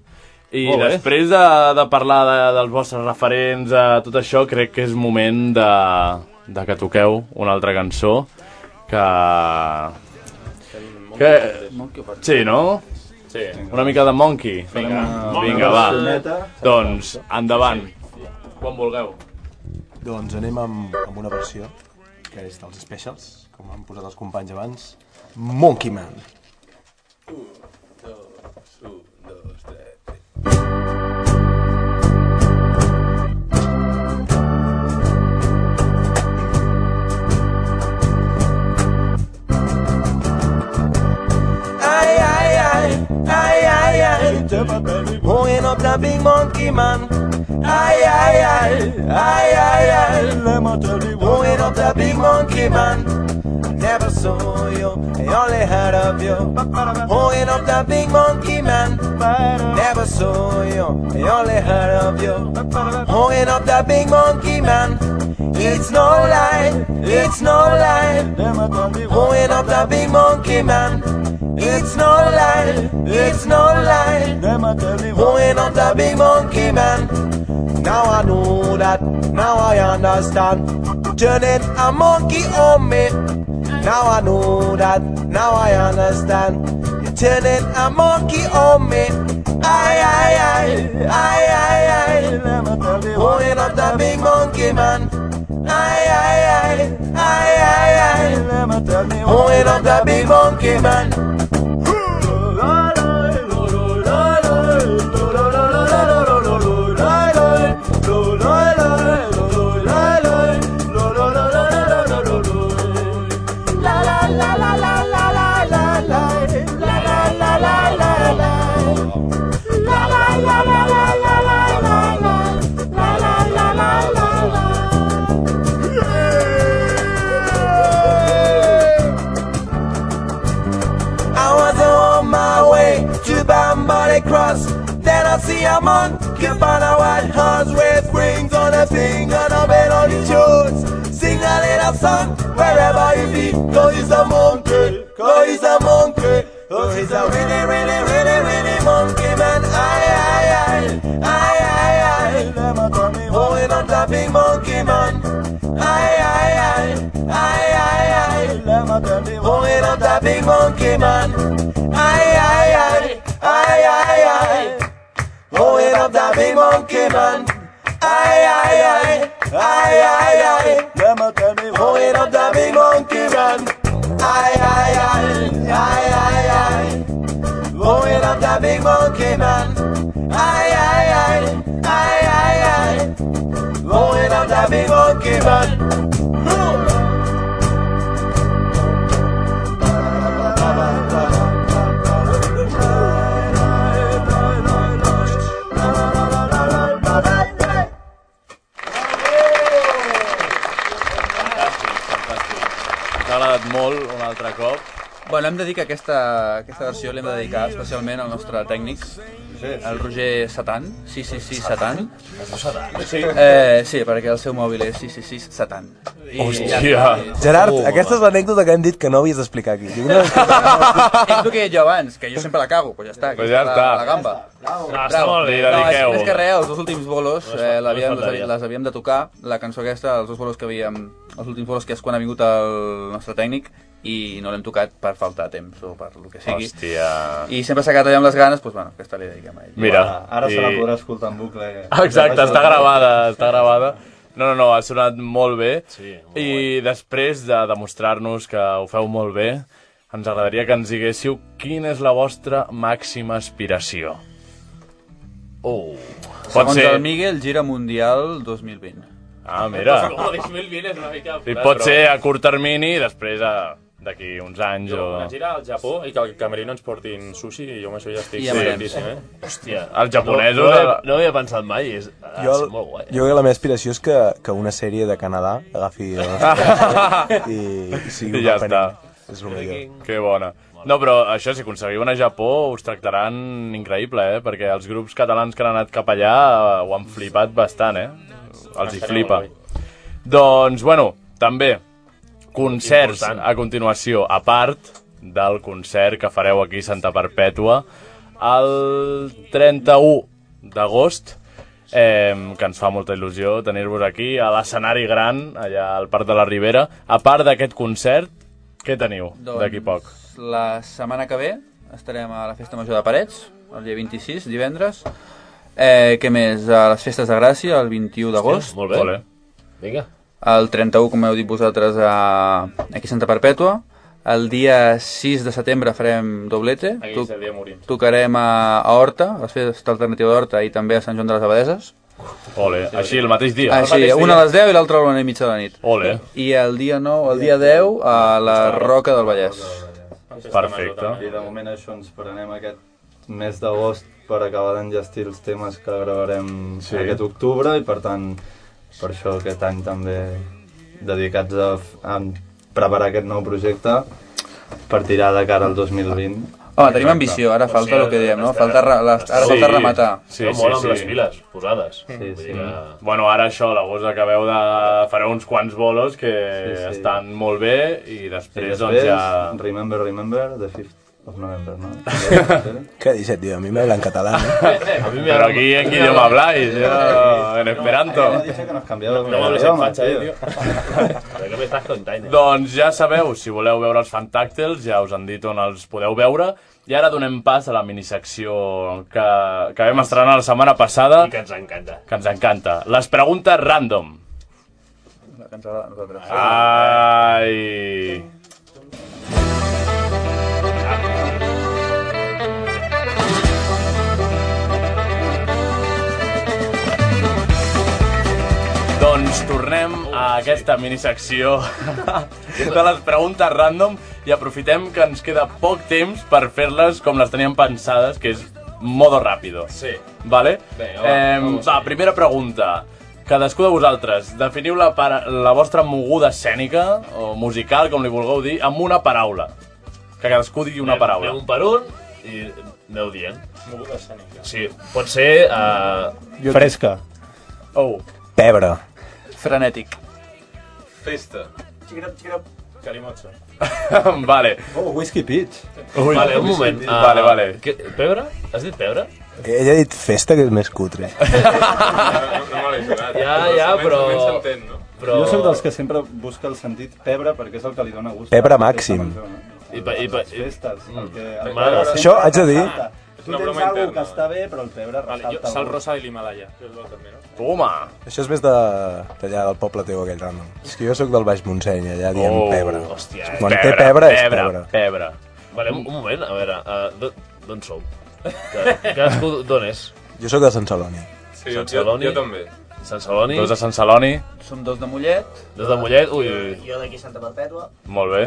I Molt bé. després de, de parlar de, dels vostres referents, a tot això, crec que és moment de, de que toqueu una altra cançó que... que... Sí, no? Sí. Una mica de Monkey. Vinga. Vinga, va. Doncs, endavant. Quan vulgueu. Doncs anem amb, amb una versió que és dels Specials, com han posat els companys abans. Monkey Man. Ay, ay, ay, ay, ay, ay. Moving up the big monkey man. Ay, ay, ay, ay, ay, ay. Moving up the big monkey man. I never saw you, I only heard of you. Moving up the big monkey man. Never saw you, I only heard of you. Moving up the big monkey man. It's no lie, it's no lie. Moving up the big monkey man. It's no lie, it's no lie. Going on the big monkey man. Now I know that, now I understand. Turning a monkey on me. Now I know that, now I understand. You're turning a monkey on me. Aye, aye, aye, aye, aye, aye. Going on the big monkey man. Aye, aye, aye, aye, aye, aye. Going on the big monkey man. I was on my way to Bambari Cross. Then I see a monkey on a white horse with rings on a finger and a bell on his shoes. Sing a little song wherever you be. Cause he's a monkey, cause he's a monkey. Cause he's a really, really, really, really monkey man. Aye, aye, aye, aye, aye, aye. Holding on the big monkey man. Aye, aye, aye, aye, aye, aye. Holding on the big monkey man. Aye, aye, aye, aye, aye, aye. Holding on the big monkey man. Aye, aye, aye, aye, aye, aye. Holding on the big monkey man. Aye, aye, aye, aye, aye, aye. Holding on the big monkey man. Aye, aye, aye, aye, aye, aye. Holding on the big monkey man. T'ha agradat molt un altre cop. Bueno, hem de dir que aquesta, aquesta versió l'hem de dedicar especialment al nostre tècnic, el Roger Satan, 666 Satan. Es diu Satan? Sí. Eh, sí, perquè el seu mòbil és 666 Satan. I ja està. Gerard, aquesta és l'anècdota que hem dit que no havies d'explicar aquí. Diu, no, és el que he dit jo abans, que jo sempre la cago, pues ja està. Pues ja aquesta està. La, la gamba. Bravo. Bravo. està molt bé, No, és, dediqueu. més que res, Eh, els dos últims bolos No es eh, falta- l'havíem- no es faltaria. les havíem de tocar, la cançó aquesta, els dos bolos que havíem els últims bolos que és quan ha vingut el nostre tècnic i no l'hem tocat per faltar temps o per lo que sigui. Hòstia. I sempre s'ha quedat allà amb les ganes, doncs, bueno, aquesta li dediquem a ell. Mira, Ara se la i- podrà escoltar en bucle. Exacte, està gravada, està gravada. No, no, no, ha sonat molt bé. Sí, molt I després de demostrar-nos que ho feu molt bé, ens agradaria que ens diguéssiu quina és la vostra màxima aspiració. Oh. Pot Segons ser... el Miguel, gira mundial 2020. Ah, mira. Com a 2020 és una mica... I pot ser a curt termini i després a... d'aquí uns anys o... Una gira al Japó i que al camerino ens portin sushi i jo amb això ja estic I ja ja veurem. contentíssim, eh? Hòstia. Els japonesos- No, no, havia- no havia pensat mai. És, ah, Jo, és molt guai. jo la meva aspiració és que, que una sèrie de Canadà agafi <laughs> la nostra i, i sigui I un ja està. aprenent. És el millor. Que bona. No, però això, si aconseguiu anar a Japó, us tractaran increïble, eh? Perquè els grups catalans que han anat cap allà eh, ho han flipat bastant, eh? Els hi Estaria flipa. molt Doncs, bueno, també, concerts Important. a continuació, a part del concert que fareu aquí a Santa Perpètua, el 31 d'agost, eh, que ens fa molta il·lusió tenir-vos aquí, a l'escenari gran, allà al Parc de la Ribera. A part d'aquest concert, què teniu d'aquí a poc? La setmana que ve estarem a la Festa Major de Parets, el dia 26, divendres. Eh, què més? A les Festes de Gràcia, el 21 d'agost. Molt bé. Molt bé. Vinga. El 31, com heu dit vosaltres, a... aquí a Santa Perpètua. El dia 6 de setembre farem doblete. Aquell és el dia morim. tocarem a, a Horta, a la Festa Alternativa d'Horta i també a Sant Joan de les Abadeses. Ole, així el mateix dia. Ah, sí, una a les 10 i l'altra a la una i mitja de la nit. Ole. I el dia 9, el dia 10, a la Roca del Vallès. Perfecte. I de moment això ens prenem aquest mes d'agost per acabar d'engestir els temes que gravarem Sí. sí. aquest octubre i per tant per això aquest any també dedicats a, f- a preparar aquest nou projecte per tirar de cara al 2020. Home, tenim ambició, ara falta el que diem, no? Falta re- les- ara falta rematar. Sí, Però sí, mola amb sí. les piles posades. Sí, sí. Bueno, ara això, a l'agost acabeu de... Fareu uns quants bolos que sí, sí. estan molt bé i després, I I després doncs ja... Remember, remember, the 5th of November, <laughs> no? Què dices, tio? A mi m'habla en català, eh? no? Pero aquí en qué idioma habláis, yo, en esperanto. No m'hables en fatxa, eh, tio. Però què m'estàs contant? Doncs ja sabeu, si voleu veure els Fantàctils, ja us han dit on els podeu veure. I ara donem pas a la minissecció que, que vam estrenar la setmana passada, I que ens encanta. que ens encanta. Les preguntes random. La que ens agrada a nosaltres. Ai... Doncs tornem a aquesta minissecció de les preguntes random i aprofitem que ens queda poc temps per fer-les com les teníem pensades, que és modo ràpido. Sí. Vale? Vinga, va, eh, vamos. va, primera pregunta. Cadascú de vosaltres, definiu la, para- la vostra moguda escènica o musical, com li vulgueu dir, amb una paraula. Que cadascú digui una paraula. Anem un per un i aneu dient. Moguda escènica. Sí, pot ser... Uh, Fresca. Oh. <laughs> Pebre. Frenètic. Festa. Xicrap, xicrap. <laughs> Calimotxa. vale. Oh, Whiskey Peach. Ui, vale, un moment. Ah, vale, vale. Que, pebre? Has dit pebre? Ella ha dit festa, que és més cutre. Ah. Ja, ja, però... Però... però... Jo sóc dels que sempre busca el sentit pebre perquè és el que li dona gust. Pebre màxim. I, pa, i, pa, i... Festes, el que... el M'agrada. que sempre Això haig de dir- resalta. Tu tens alguna cosa que està bé, però el pebre Vale, jo, ressalta. sal molt. rosa i l'Himalaya. Que és bo també, no? Toma! Això és més de d'allà del poble teu, aquell random. És que jo sóc del Baix Montseny, allà diem Oh, pebre. hòstia, eh? Quan té Pebre, pebre, és pebre. pebre. Pebre. Vale, un, un moment, a veure, uh, d'on sou? Que- <laughs> Cadascú d'on és? Jo sóc de Sant Celoni. Sí, jo, Sant jo, Celoni? jo també. Sant Celoni? Dos de Sant Celoni. Som dos de Mollet. Dos de Mollet? Ui, ui, ui. Jo d'aquí Santa Perpètua. Molt bé.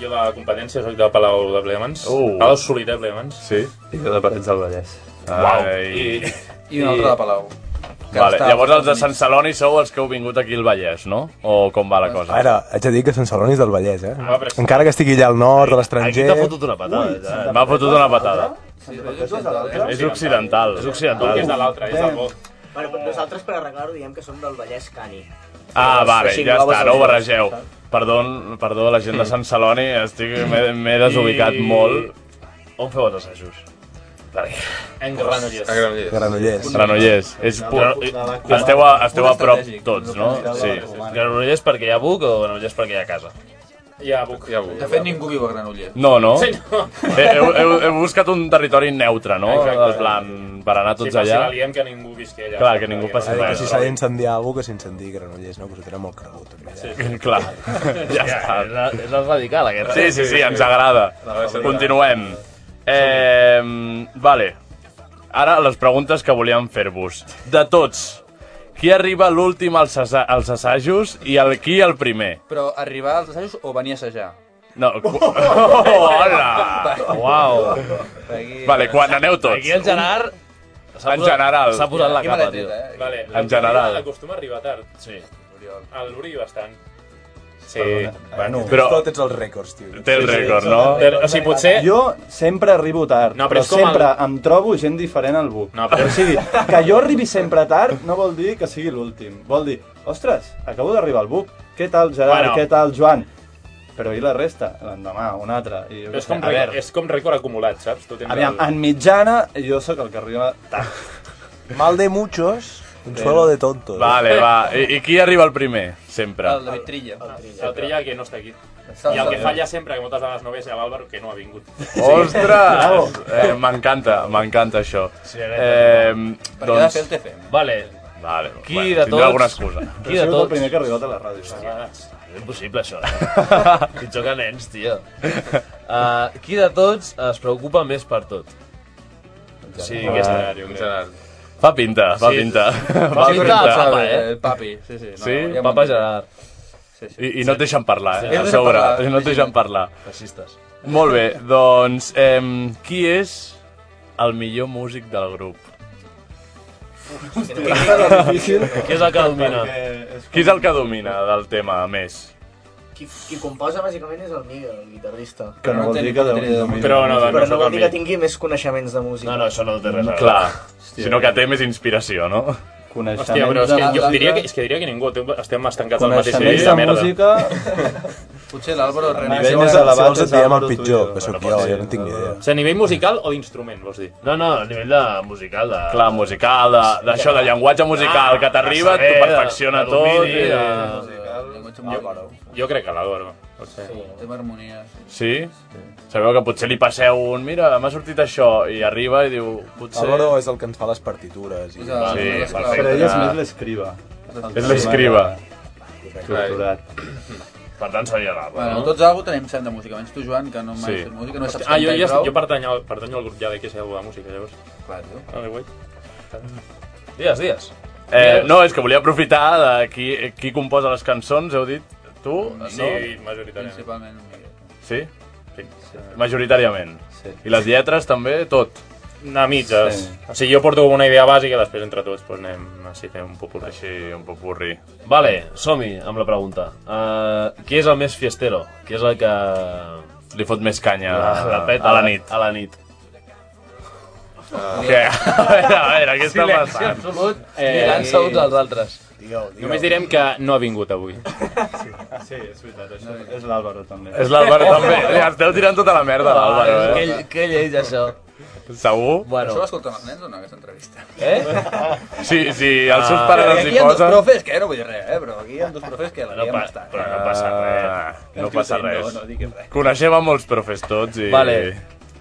Jo de competència soc de Palau de Plegamans. Uh. Palau Solid de Plegamans. Sí. I jo de Parets del Vallès. Uau. I- I un altre de Palau. que Vale. està als Llavors els de Estats Sant Celoni sou els que heu vingut aquí al Vallès, no? O com va la cosa? Ara, haig de dir que Sant Celoni és del Vallès, eh? Ah, però- Encara que estigui allà al nord, a l'estranger... una patada. ja. M'ha fotut una patada. És occidental. És occidental. És de l'altre, és del bo. Bueno, però nosaltres, per arreglar-ho, diem que som del Vallès Cani. Ah, vale, Cinc ja globes està, al no ho dia. barregeu. Perdó, perdó la gent de Sant Celoni, estic m'he m'he desubicat I- molt. On feu els assajos? En Granollers. A Granollers. Granollers. Granollers. És pu- esteu a- esteu a prop tots, no? Sí. Granollers perquè hi ha buc o Granollers perquè hi ha casa? Ja, Buc. Ja, De fet, ningú viu a Granollers. No, no? Sí, no. Eh, heu, heu, heu buscat un territori neutre, no? Exacte. En plan, per anar tots Sí, però si allà. la liem, que ningú visqui allà. Clar, que ningú Perquè passi no- res. Si s'ha d'incendiar alguna cosa, que s'incendi Granollers, no? Que us ho tenen molt cregut. També, eh? Sí, sí. Clar. <laughs> Ja està. És el radical, aquest. Sí, sí, sí, ens agrada. Continuem. Eh, vale. Ara les preguntes que volíem fer-vos. De tots, qui arriba l'últim als, assa als assajos i el qui el primer? Però arribar als assajos o venir a assajar? No, <laughs> cu- oh, hola! Uau! Aquí- Vale, quan aneu tots? Aquí el Gerard s'ha En posat- general. s'ha posat la Aquí capa, maleteta, tio. eh? Vale, Vale, en l'Oriol general. Acostuma a arribar tard. Sí. A l'Uri bastant. Sí. Bueno, Ah, però... Tu tens els rècords, tio. Té el rècord, no? o sigui, potser- Jo sempre arribo tard, Eh! No, no, però però, és com sempre el- em trobo gent diferent al buc. No, però... O sigui, que jo arribi sempre tard no vol dir que sigui l'últim. Vol dir, ostres, acabo d'arribar al buc. Què tal, Gerard? Bueno. Què tal, Joan? Però i la resta? L'endemà, un altre. I jo Però és què com, sé. a rècord, veure, és com rècord acumulat, saps? Tu tens aviam, el... en mitjana jo sóc el que arriba tard. Mal de muchos, consuelo de tontos. Vale, va. I, I qui arriba el primer? Sempre. El David Trilla. El El Trilla, que no està aquí. Està- I el que està- falla sempre, que moltes vegades no ve, és l'Àlvaro, que no ha vingut. Ostres! Eh, m'encanta, m'encanta això. Sí, Eh, Per què ha de doncs... fer el TFM? Vale. Vale, Qui bueno, de tindrà tots... alguna excusa. Qui de tots... ràdio. És impossible, això. <laughs> eh? Pitjor que nens, tio. Uh, qui de tots es preocupa més per tot? Sí, Ah, aquesta. un Gerard. Fa pinta, fa Sí. pinta. Fa pinta el papa, eh? El papi, sí, sí. No, Sí? ja m'ho Papa entenc. Gerard. Sí, sí. I, I no et deixen parlar, Sí. eh? No A et deixen sobre, parlar. no et deixen parlar. Fascistes. Molt bé, doncs, eh, qui és el millor músic del grup? Qui és el que domina? Qui és el que domina del tema, a més? Qui, qui composa bàsicament és el Miguel, el guitarrista. Que no vol dir que domini de música. Però no, però doncs, no no sóc el vol dir que Miguel. tingui més coneixements de música. No, no, això no té Mm, Clar, sinó que té més inspiració, no? Hòstia, però és que jo diria que, és que, diria que ningú. Té- Estem estancats al mateix Coneixements de Potser l'Àlvaro A Renés... nivell Segons- més elevat segons és et diem Álvaro el pitjor. Jo, que sóc jo, jo no tinc ni idea. O sigui, a nivell musical o d'instrument, vols dir? No, no, a nivell de musical. De... Clar, musical, de- d'això, de llenguatge musical, que t'arriba, t'ho perfecciona tot. i- Jo, jo crec que l'Àlvaro. potser. Tema harmonia. Sí? Sabeu que potser li passeu un, mira, m'ha sortit això, i arriba i diu, potser... Álvaro és el que ens fa les partitures. I... És el- Sí, és el- perfecte. Però ell és més l'escriba. És l'escriba. Torturat. Per tant, seria l'Àlvaro, Bueno, no? tots algú tenim sem de música, menys tu, Joan, que no m'has Sí. fet música, no saps Ah, jo, cantar i ja, prou. jo pertany al, pertany al grup ja de que sabeu de música, llavors. Clar, Ah, Vale, guai. Dies, dies. Eh, no, és que volia aprofitar de qui, qui composa les cançons, heu dit? Tu? Sí, majoritàriament. Principalment. Sí? Sí. Majoritàriament. Sí. I les lletres també, tot. Anar a mitges. Sí. O sigui, jo porto com una idea bàsica i després entre tots doncs, anem així fent un popurri. Així, un popurri. Vale, som-hi amb la pregunta. Uh, qui és el més fiestero? Qui és el que... Li fot més canya la, la peta, Ah, a la nit. A la nit. Què? <laughs> A veure, a veure, què està Silenci passant? Eh, absolut, mirant-se uns als altres. Digueu, digueu. Només direm que no ha vingut avui. <laughs> Sí, és veritat, això. És l'Àlvaro, també. És <laughs> l'Àlvaro també. Li esteu tirant tota la merda a l'Àlvaro, eh? Que, que lleig, això. Segur? Això ho escolten els nens o no, aquesta entrevista? Eh? Sí, sí, els seus pares Perquè els hi Aquí hi ha dos posen. profes, que no vull dir res, eh? Però aquí hi ha dos profes que la no, pa- bastant. Però no passa res. No Escolti, passa no, res. no diguis res. Coneixem a molts profes tots i... Vale.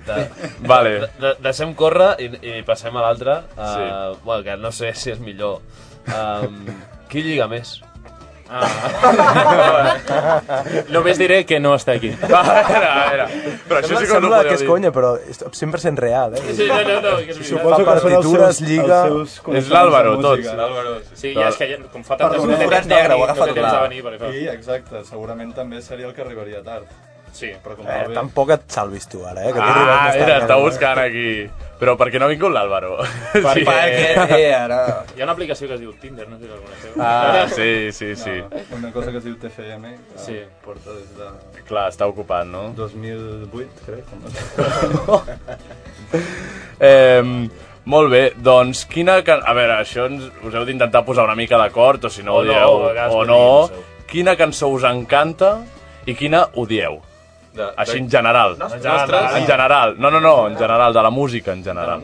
De, <laughs> Vale. de, de, deixem córrer i, i passem a l'altre. Uh, sí. Sí. Bueno, que no sé si és millor. <laughs> Um, qui lliga més? Ah. <laughs> Només diré que no <laughs> està aquí. A veure, a veure. Però això Sembla, sí que no ho sembla podeu que és dir. conya, però és 100% real, eh? Sí, no, no, no, que és veritat. Suposo que són els seus... Lliga... És l'Àlvaro, tots. L'Àlvaro, Sí, ja és que ja, com fa tantes Perdona, coses, no forat té negre, ho temps agafa de tot l'Àlvaro. venir, per això. Sí, exacte, segurament també seria el que arribaria tard. Sí, però com Eh, que ve... tampoc et salvis tu, ara, eh? Que t'he arribat Ah, bastant mira, tard, està eh? buscant aquí. Però per què no ha vingut l'Àlvaro? Perquè- Eh, ara... Hi ha una aplicació que es diu Tinder, no sé si la coneixeu. Ah, eh, sí, sí, sí. No, una cosa que es diu TFM, que Sí. porta des de Clar, està ocupat, no? 2008, crec. o No? Eh, molt bé, doncs quina... Can... A veure, això ens, us heu d'intentar posar una mica d'acord, o si no O ho no, dieu, a vegades o no no. Quina cançó us encanta i quina odieu? De, Així en general. Nostres? Nostres? En general. No, no, no, en general, de la música en general.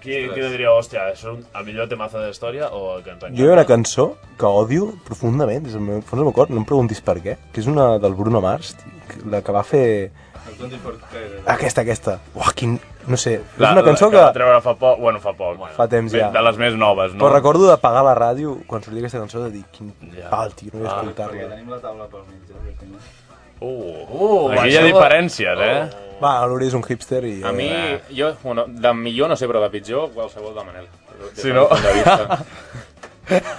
¿Quién, quién diría, hostia, es un, el millor temazo de la història o el que ens Jo hi ha una cançó que odio profundament, des del meu fons del meu cor, no em preguntis per què, que és una del Bruno Mars, la que va fer... Aquesta, aquesta. Uah, quin... No sé, és una cançó que... que... va treure fa poc, bueno, fa poc. Fa temps ja. De les més noves, no? Però recordo d'apagar la ràdio quan sortia aquesta cançó de dir quin ja. pal, tio, no vull Ah, Perquè escoltar-la. tenim la taula pel mig. eh? Oh, Uh, Aquí hi ha diferències, eh? Va, l'Uri és un hipster i... eh, A Oh, mi, jo, bueno, de millor no sé, però de pitjor, qualsevol de Manel. Des Sí, del no? punt de <laughs> vista.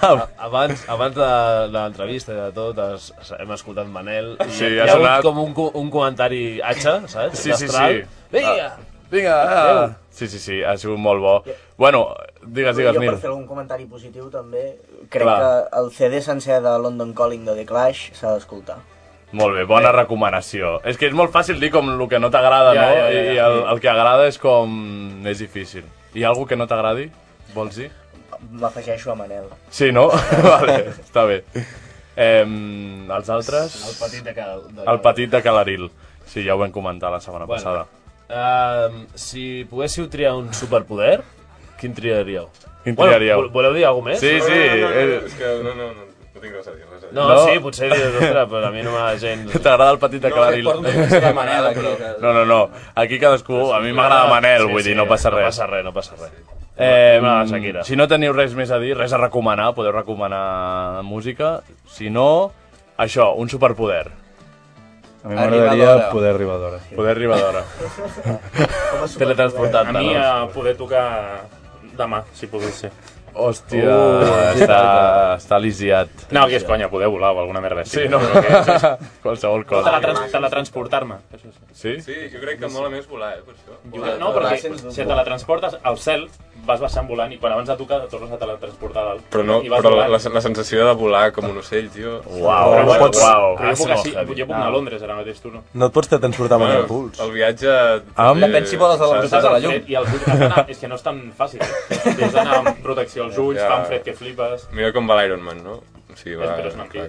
A- Abans, abans de, de l'entrevista i de tot, es, es- hem escoltat Manel i Sí, hi ha ha hagut sonat- com un, co- un comentari atxa, saps? Sí, sí, Destral. sí. Vinga! Vinga! Adéu. Ah, sí, sí, sí, ha sigut molt bo. Bueno, digues, digues, jo per Nil. fer algun comentari positiu també, crec Clar. que el CD sencer de London Calling de The Clash s'ha d'escoltar. Molt bé, Eh. bona recomanació. És que és molt fàcil dir com el que no t'agrada, Ja, no? ja, ja, ja. I el, el que agrada és com... és difícil. Hi ha algú que no t'agradi? Vols dir? M'afegeixo a Manel. Sí, no? <laughs> vale, està bé. Eh, els altres... El petit de Cal- de El Cal- petit de Calaril. Sí, ja ho vam comentar la setmana Bueno. passada. Ehm, si poguéssiu triar un superpoder, quin triaríeu? Quin triaríeu? Bueno, vol- voleu dir alguna cosa Sí, més? sí, eh, No, no, no, no, És que no, no, no, no tinc res a dir, res a dir. No, sí, potser dius, ostres, però a mi no m'agrada <laughs> gens. T'agrada el petit de No, Calaril? porto un petit de Manel aquí, que- No, no, no. Aquí cadascú... A mi m'agrada Manel, vull dir, no passa res. No passa res, no passa res. Eh, Anem a la Shakira. si no teniu res més a dir, res a recomanar, podeu recomanar música. Si no, això, un superpoder. A mi m'agradaria poder arribar d'hora. Poder arribar <laughs> d'hora. A Teletransportant-te. mi, no? a poder tocar demà, si pogués ser. Hòstia, Uh, està, està lisiat. No, que és conya, poder volar o alguna merda. Sí, no. Qualsevol cosa. Teletrans teletransportar-me. això Sí? Sí, jo crec que mola més volar, eh, per això. Jo crec- No, perquè si et teletransportes al cel, vas baixant volant i quan abans de tocar et tornes a teletransportar dalt. Però, no, I vas però la, volant. la, la sensació de volar com un ocell, tio... Uau, Però no bueno, pots- uau. Però jo puc, Ah, així, sí, no, jo puc anar a Londres ara mateix, tu no. No et pots transportar amb el impuls. El viatge... Amb- eh, Depèn si voles a la velocitat saps? de la llum. I el has d'anar... És que no és tan fàcil. Has d'anar amb protecció als ulls, Ja. tan fred que flipes... Mira com va l'Iron Man, no? O sigui, va... Eh, però és mentida.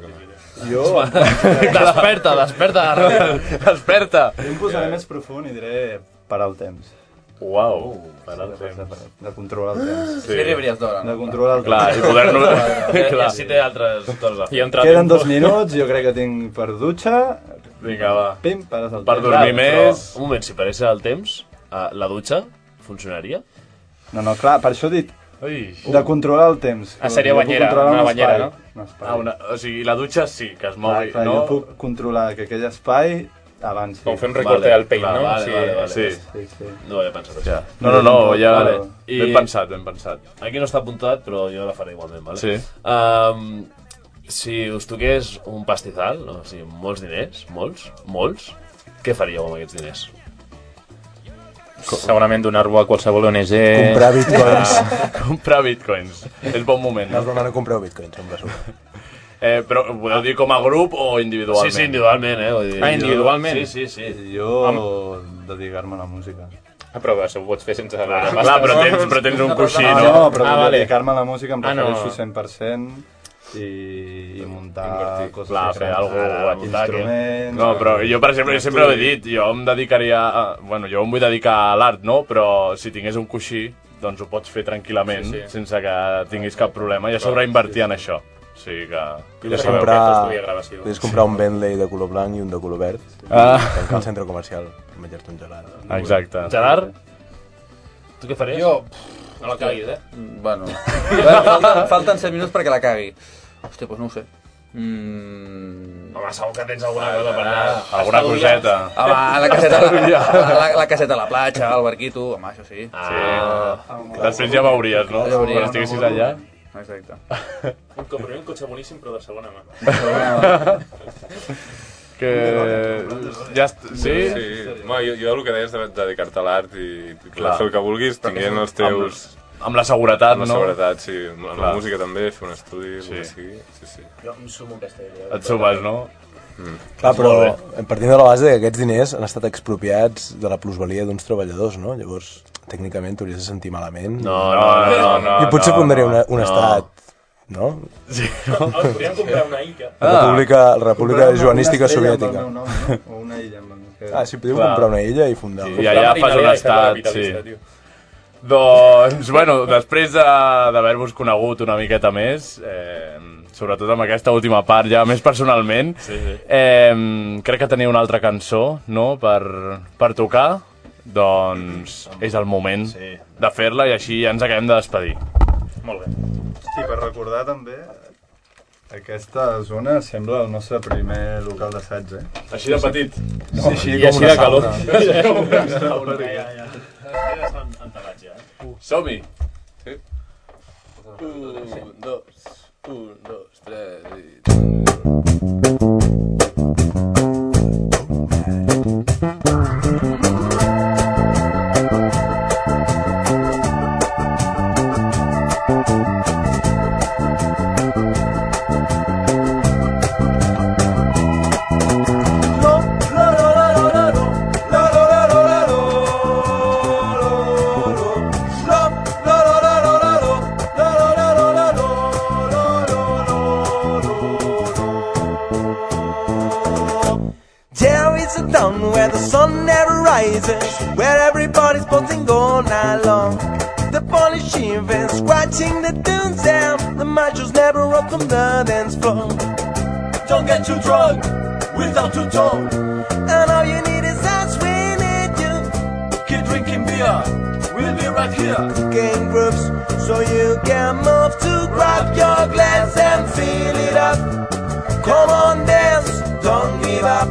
Jo- Desperta, desperta, desperta. Jo em posaré més profund i diré parar el temps. Uau, parar el temps. De controlar el temps. Sí. Sí, arribaries d'hora, no? De controlar el <laughs> Clar, temps. i poder-no- Ja- ja sí té altres coses a fer. I entrar Queden temps. dos minuts, jo crec que tinc per dutxa. Vinga, va. Pim, pares el Per temps. dormir més... Un moment, si parés el temps, eh, la dutxa funcionaria? No, no, clar, per això he dit Ui. de controlar el temps. Ah, seria Jo puc Uh. banyera, controlar una un banyera, espai. no? Un espai. Ah, una, o sigui, la dutxa sí, que es mogui, Clar, clar, no? Jo puc controlar que aquell espai avanci. Com fer un recorte del pell, no? Vale, Sí. vale, vale. Sí. Sí, sí. No ho havia pensat, Ja. això. No, no, no, ja Vale. I... ben pensat, ben pensat. Aquí no està apuntat, però jo la faré igualment, vale? Sí. Ehm, si us toqués un pastizal, o sigui, molts diners, molts, molts, què faríeu amb aquests diners? <laughs> Segurament donar-ho a qualsevol eh? ONG... Comprar bitcoins. comprar bitcoins. És bon moment. No us demano comprar bitcoins, em resumo. Eh, però ho podeu dir com a grup o individualment? Sí, sí, individualment, eh? Vull dir, Ah, individualment? Sí, sí, sí. Jo dedicar-me a la música. Ah, però això ho pots fer sense... Clar, clar, però tens- però tens un coixí, Ah, no? No, però Ah, vale. dedicar-me a la música em Ah, no. refereixo 100% i, i muntar coses. Clar, fer grans. alguna Ah, cosa que... Instruments... No, però jo, per exemple, jo sempre ho he dit, jo em dedicaria... A... Bueno, jo em vull dedicar a l'art, no? Però si tingués un coixí, doncs ho pots fer tranquil·lament, Sí, sí, sí. sí. sense que tinguis cap problema, i a sobre invertir en això. O sigui que... Podries sabeu. comprar, podries comprar un Bentley de color blanc i un de color verd. Ah. I tancar el centre comercial i menjar-te un gelat. Exacte. Gerard, tu què faries? Jo... No la caguis, eh? Mm, <laughs> Bueno. bueno falten, falten 7 minuts perquè la cagui. Hòstia, doncs no ho sé. Mm... Home, segur que tens alguna cosa per anar. Alguna coseta. Home, a la <laughs> caseta, la, la, la caseta a la platja, al barquito, home, això sí. Ah. Després ja veuries, no? Ja veuries. Quan estiguessis allà. Exacte. Un, com, primer un cotxe boníssim, però de segona mà. Que... Ja... est- Sí? Sí, sí. Home, jo, jo el que deies de de dedicar-te a l'art i i Clar. fer el que vulguis, tinguent els teus... Amb, amb la seguretat, amb la no? seguretat, sí. Amb la Clar. música també, fer un estudi, sí. el que Sí. sigui. Sí, sí. Jo em sumo a aquesta idea. Et sumes, no? Clar, però eh, Molt partint de la base que aquests diners han estat expropiats de la plusvalia d'uns treballadors, no? Llavors, tècnicament, t'hauries de sentir malament. No, no, no, no, I potser no, fundaria no, una, un no. estat, no? Sí, no? Podríem comprar una Ica. República, la República Comprar una- Joanística una estrella amb el Soviètica. meu nom, no? O una illa amb el meu que... Ah, sí, podíeu comprar una illa i fundar-la. I allà fas un estat, sí. Doncs, bueno, després de- d'haver-vos conegut una miqueta més, eh, sobretot amb aquesta última part, ja més personalment, Sí, sí. eh, crec que teniu una altra cançó, no?, per, per tocar. Doncs és el moment sí. de fer-la i així ja ens acabem de despedir. Molt bé. I per recordar també, aquesta zona sembla el nostre primer local d'assaig, eh? Així de petit. No, Sí, així i com així una de calor. <laughs> sauna. Així com una Una sauna. sauna. Ja, ja, Som-hi! Sí. Un, dos, un, dos, tres i... There is a town where the sun never rises, where everybody's posting all night long. The polishing and scratching the tunes down, the matches never up from the dance floor. Don't get too drunk without your tongue. And all you need is us, we need you. Keep drinking beer, we'll be right here. Game groups, so you can move to grab your glass and fill it up. Come on, dance, don't give up.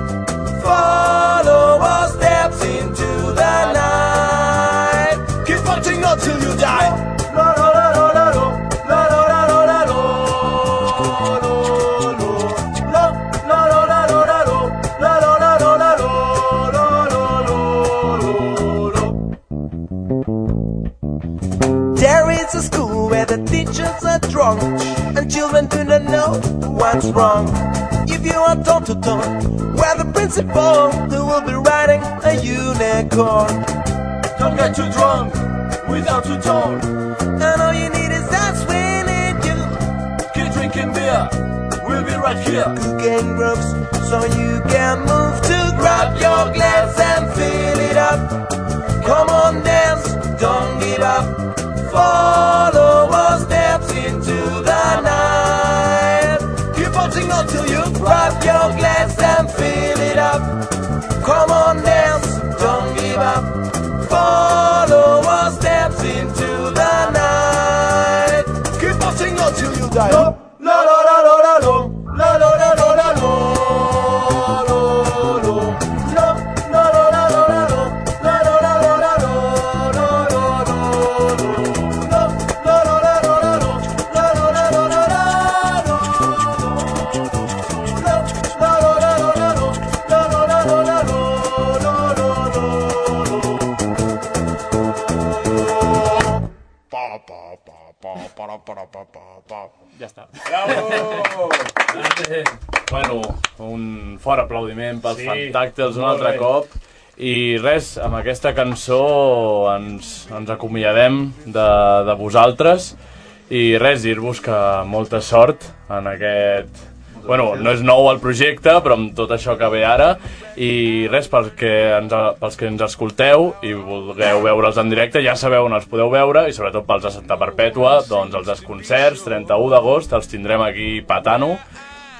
Follow our steps into the night. Keep fighting until you die. La, la, la, la, la, la. La, la, la, la, la, la. La, la, la, la, la, la, la. La, la, la, la, la, la. La, la, la, la, la, la. There is a school where the teachers are drunk and children do not know what's wrong. If you are torn to torn, where the principal they will be riding a unicorn. Don't get too drunk without too torn. And all you need is us, we need you. Keep drinking beer, we'll be right here. Cooking groups, so you can move to grab your glass and fill it up. Come on, dance, don't give up. Follow our steps into the night. Keep watching until you grab your glass and fill it up. Come on, dance, don't give up. Follow our steps into the night. Keep watching until you die. Lo, lo, lo, lo, lo, lo, lo. Lo, lo, lo, lo, lo, lo. Lo, lo. Lo, lo, lo, lo, lo, lo, lo. Lo, lo, lo, lo, lo, lo. Lo, lo, lo, lo, lo. Ja està. Bravo! bueno, un fort aplaudiment pels Sí, sí, Fantàctils un molt altre bé. cop. I res, amb aquesta cançó ens, ens acomiadem de, de vosaltres. I res, dir-vos que molta sort en aquest... Bueno, no és nou el projecte, però amb tot això que ve ara. I res, pels que ens, pels que ens escolteu i vulgueu veure'ls en directe, ja sabeu on els podeu veure, i sobretot pels de Santa Perpètua, doncs els concerts, 31 d'agost, els tindrem aquí patano.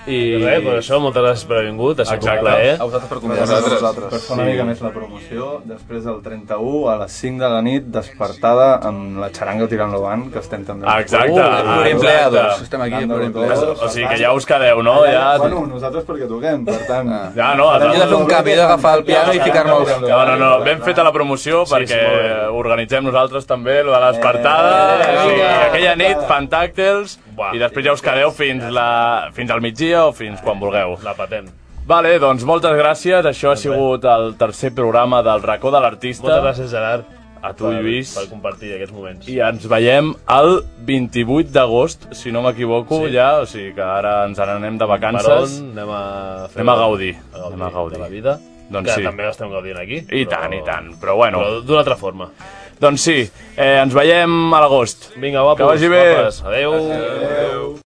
I... Res, doncs això, moltes gràcies per haver vingut, ha sigut un plaer. A vosaltres per convidar-nos. A vosaltres. Per fer una Sí. mica més la promoció, després del 31 a les 5 de la nit, despertada amb la xaranga tirant lo van, que estem també... Exacte, Uh, ah, pur empleados, exacte. estem aquí, pur empleados. O sigui que ja us quedeu, no? Ja- Bueno, nosaltres perquè toquem, per tant... Ja, no, Hem de fer un canvi, he d'agafar el piano i ficar-me al- No, no, no, ben feta la promoció sí, perquè sí, organitzem nosaltres també lo de l'espartada. Eh, o sigui, aquella nit, Fantàctils, i després ja us quedeu fins, la, fins al migdia o fins quan vulgueu. La patent. Vale, doncs moltes gràcies. Això ha sigut el tercer programa del racó de l'artista. Doncs Moltes gràcies, Gerard. A tu, Lluís. Per compartir aquests moments. I ens veiem el 28 d'agost, si no m'equivoco, Sí. sí. ja. O sigui que ara ens n'anem de vacances. Barón, anem a fer- anem a gaudir. a gaudir Anem a gaudir. de la vida, Doncs que sí. també estem gaudint aquí, I però- tant, i tant. Però bueno. però d'una altra forma. Doncs sí, eh, ens veiem a l'agost. Vinga, guapos, Que vagi bé. guapes. Adéu. Adéu.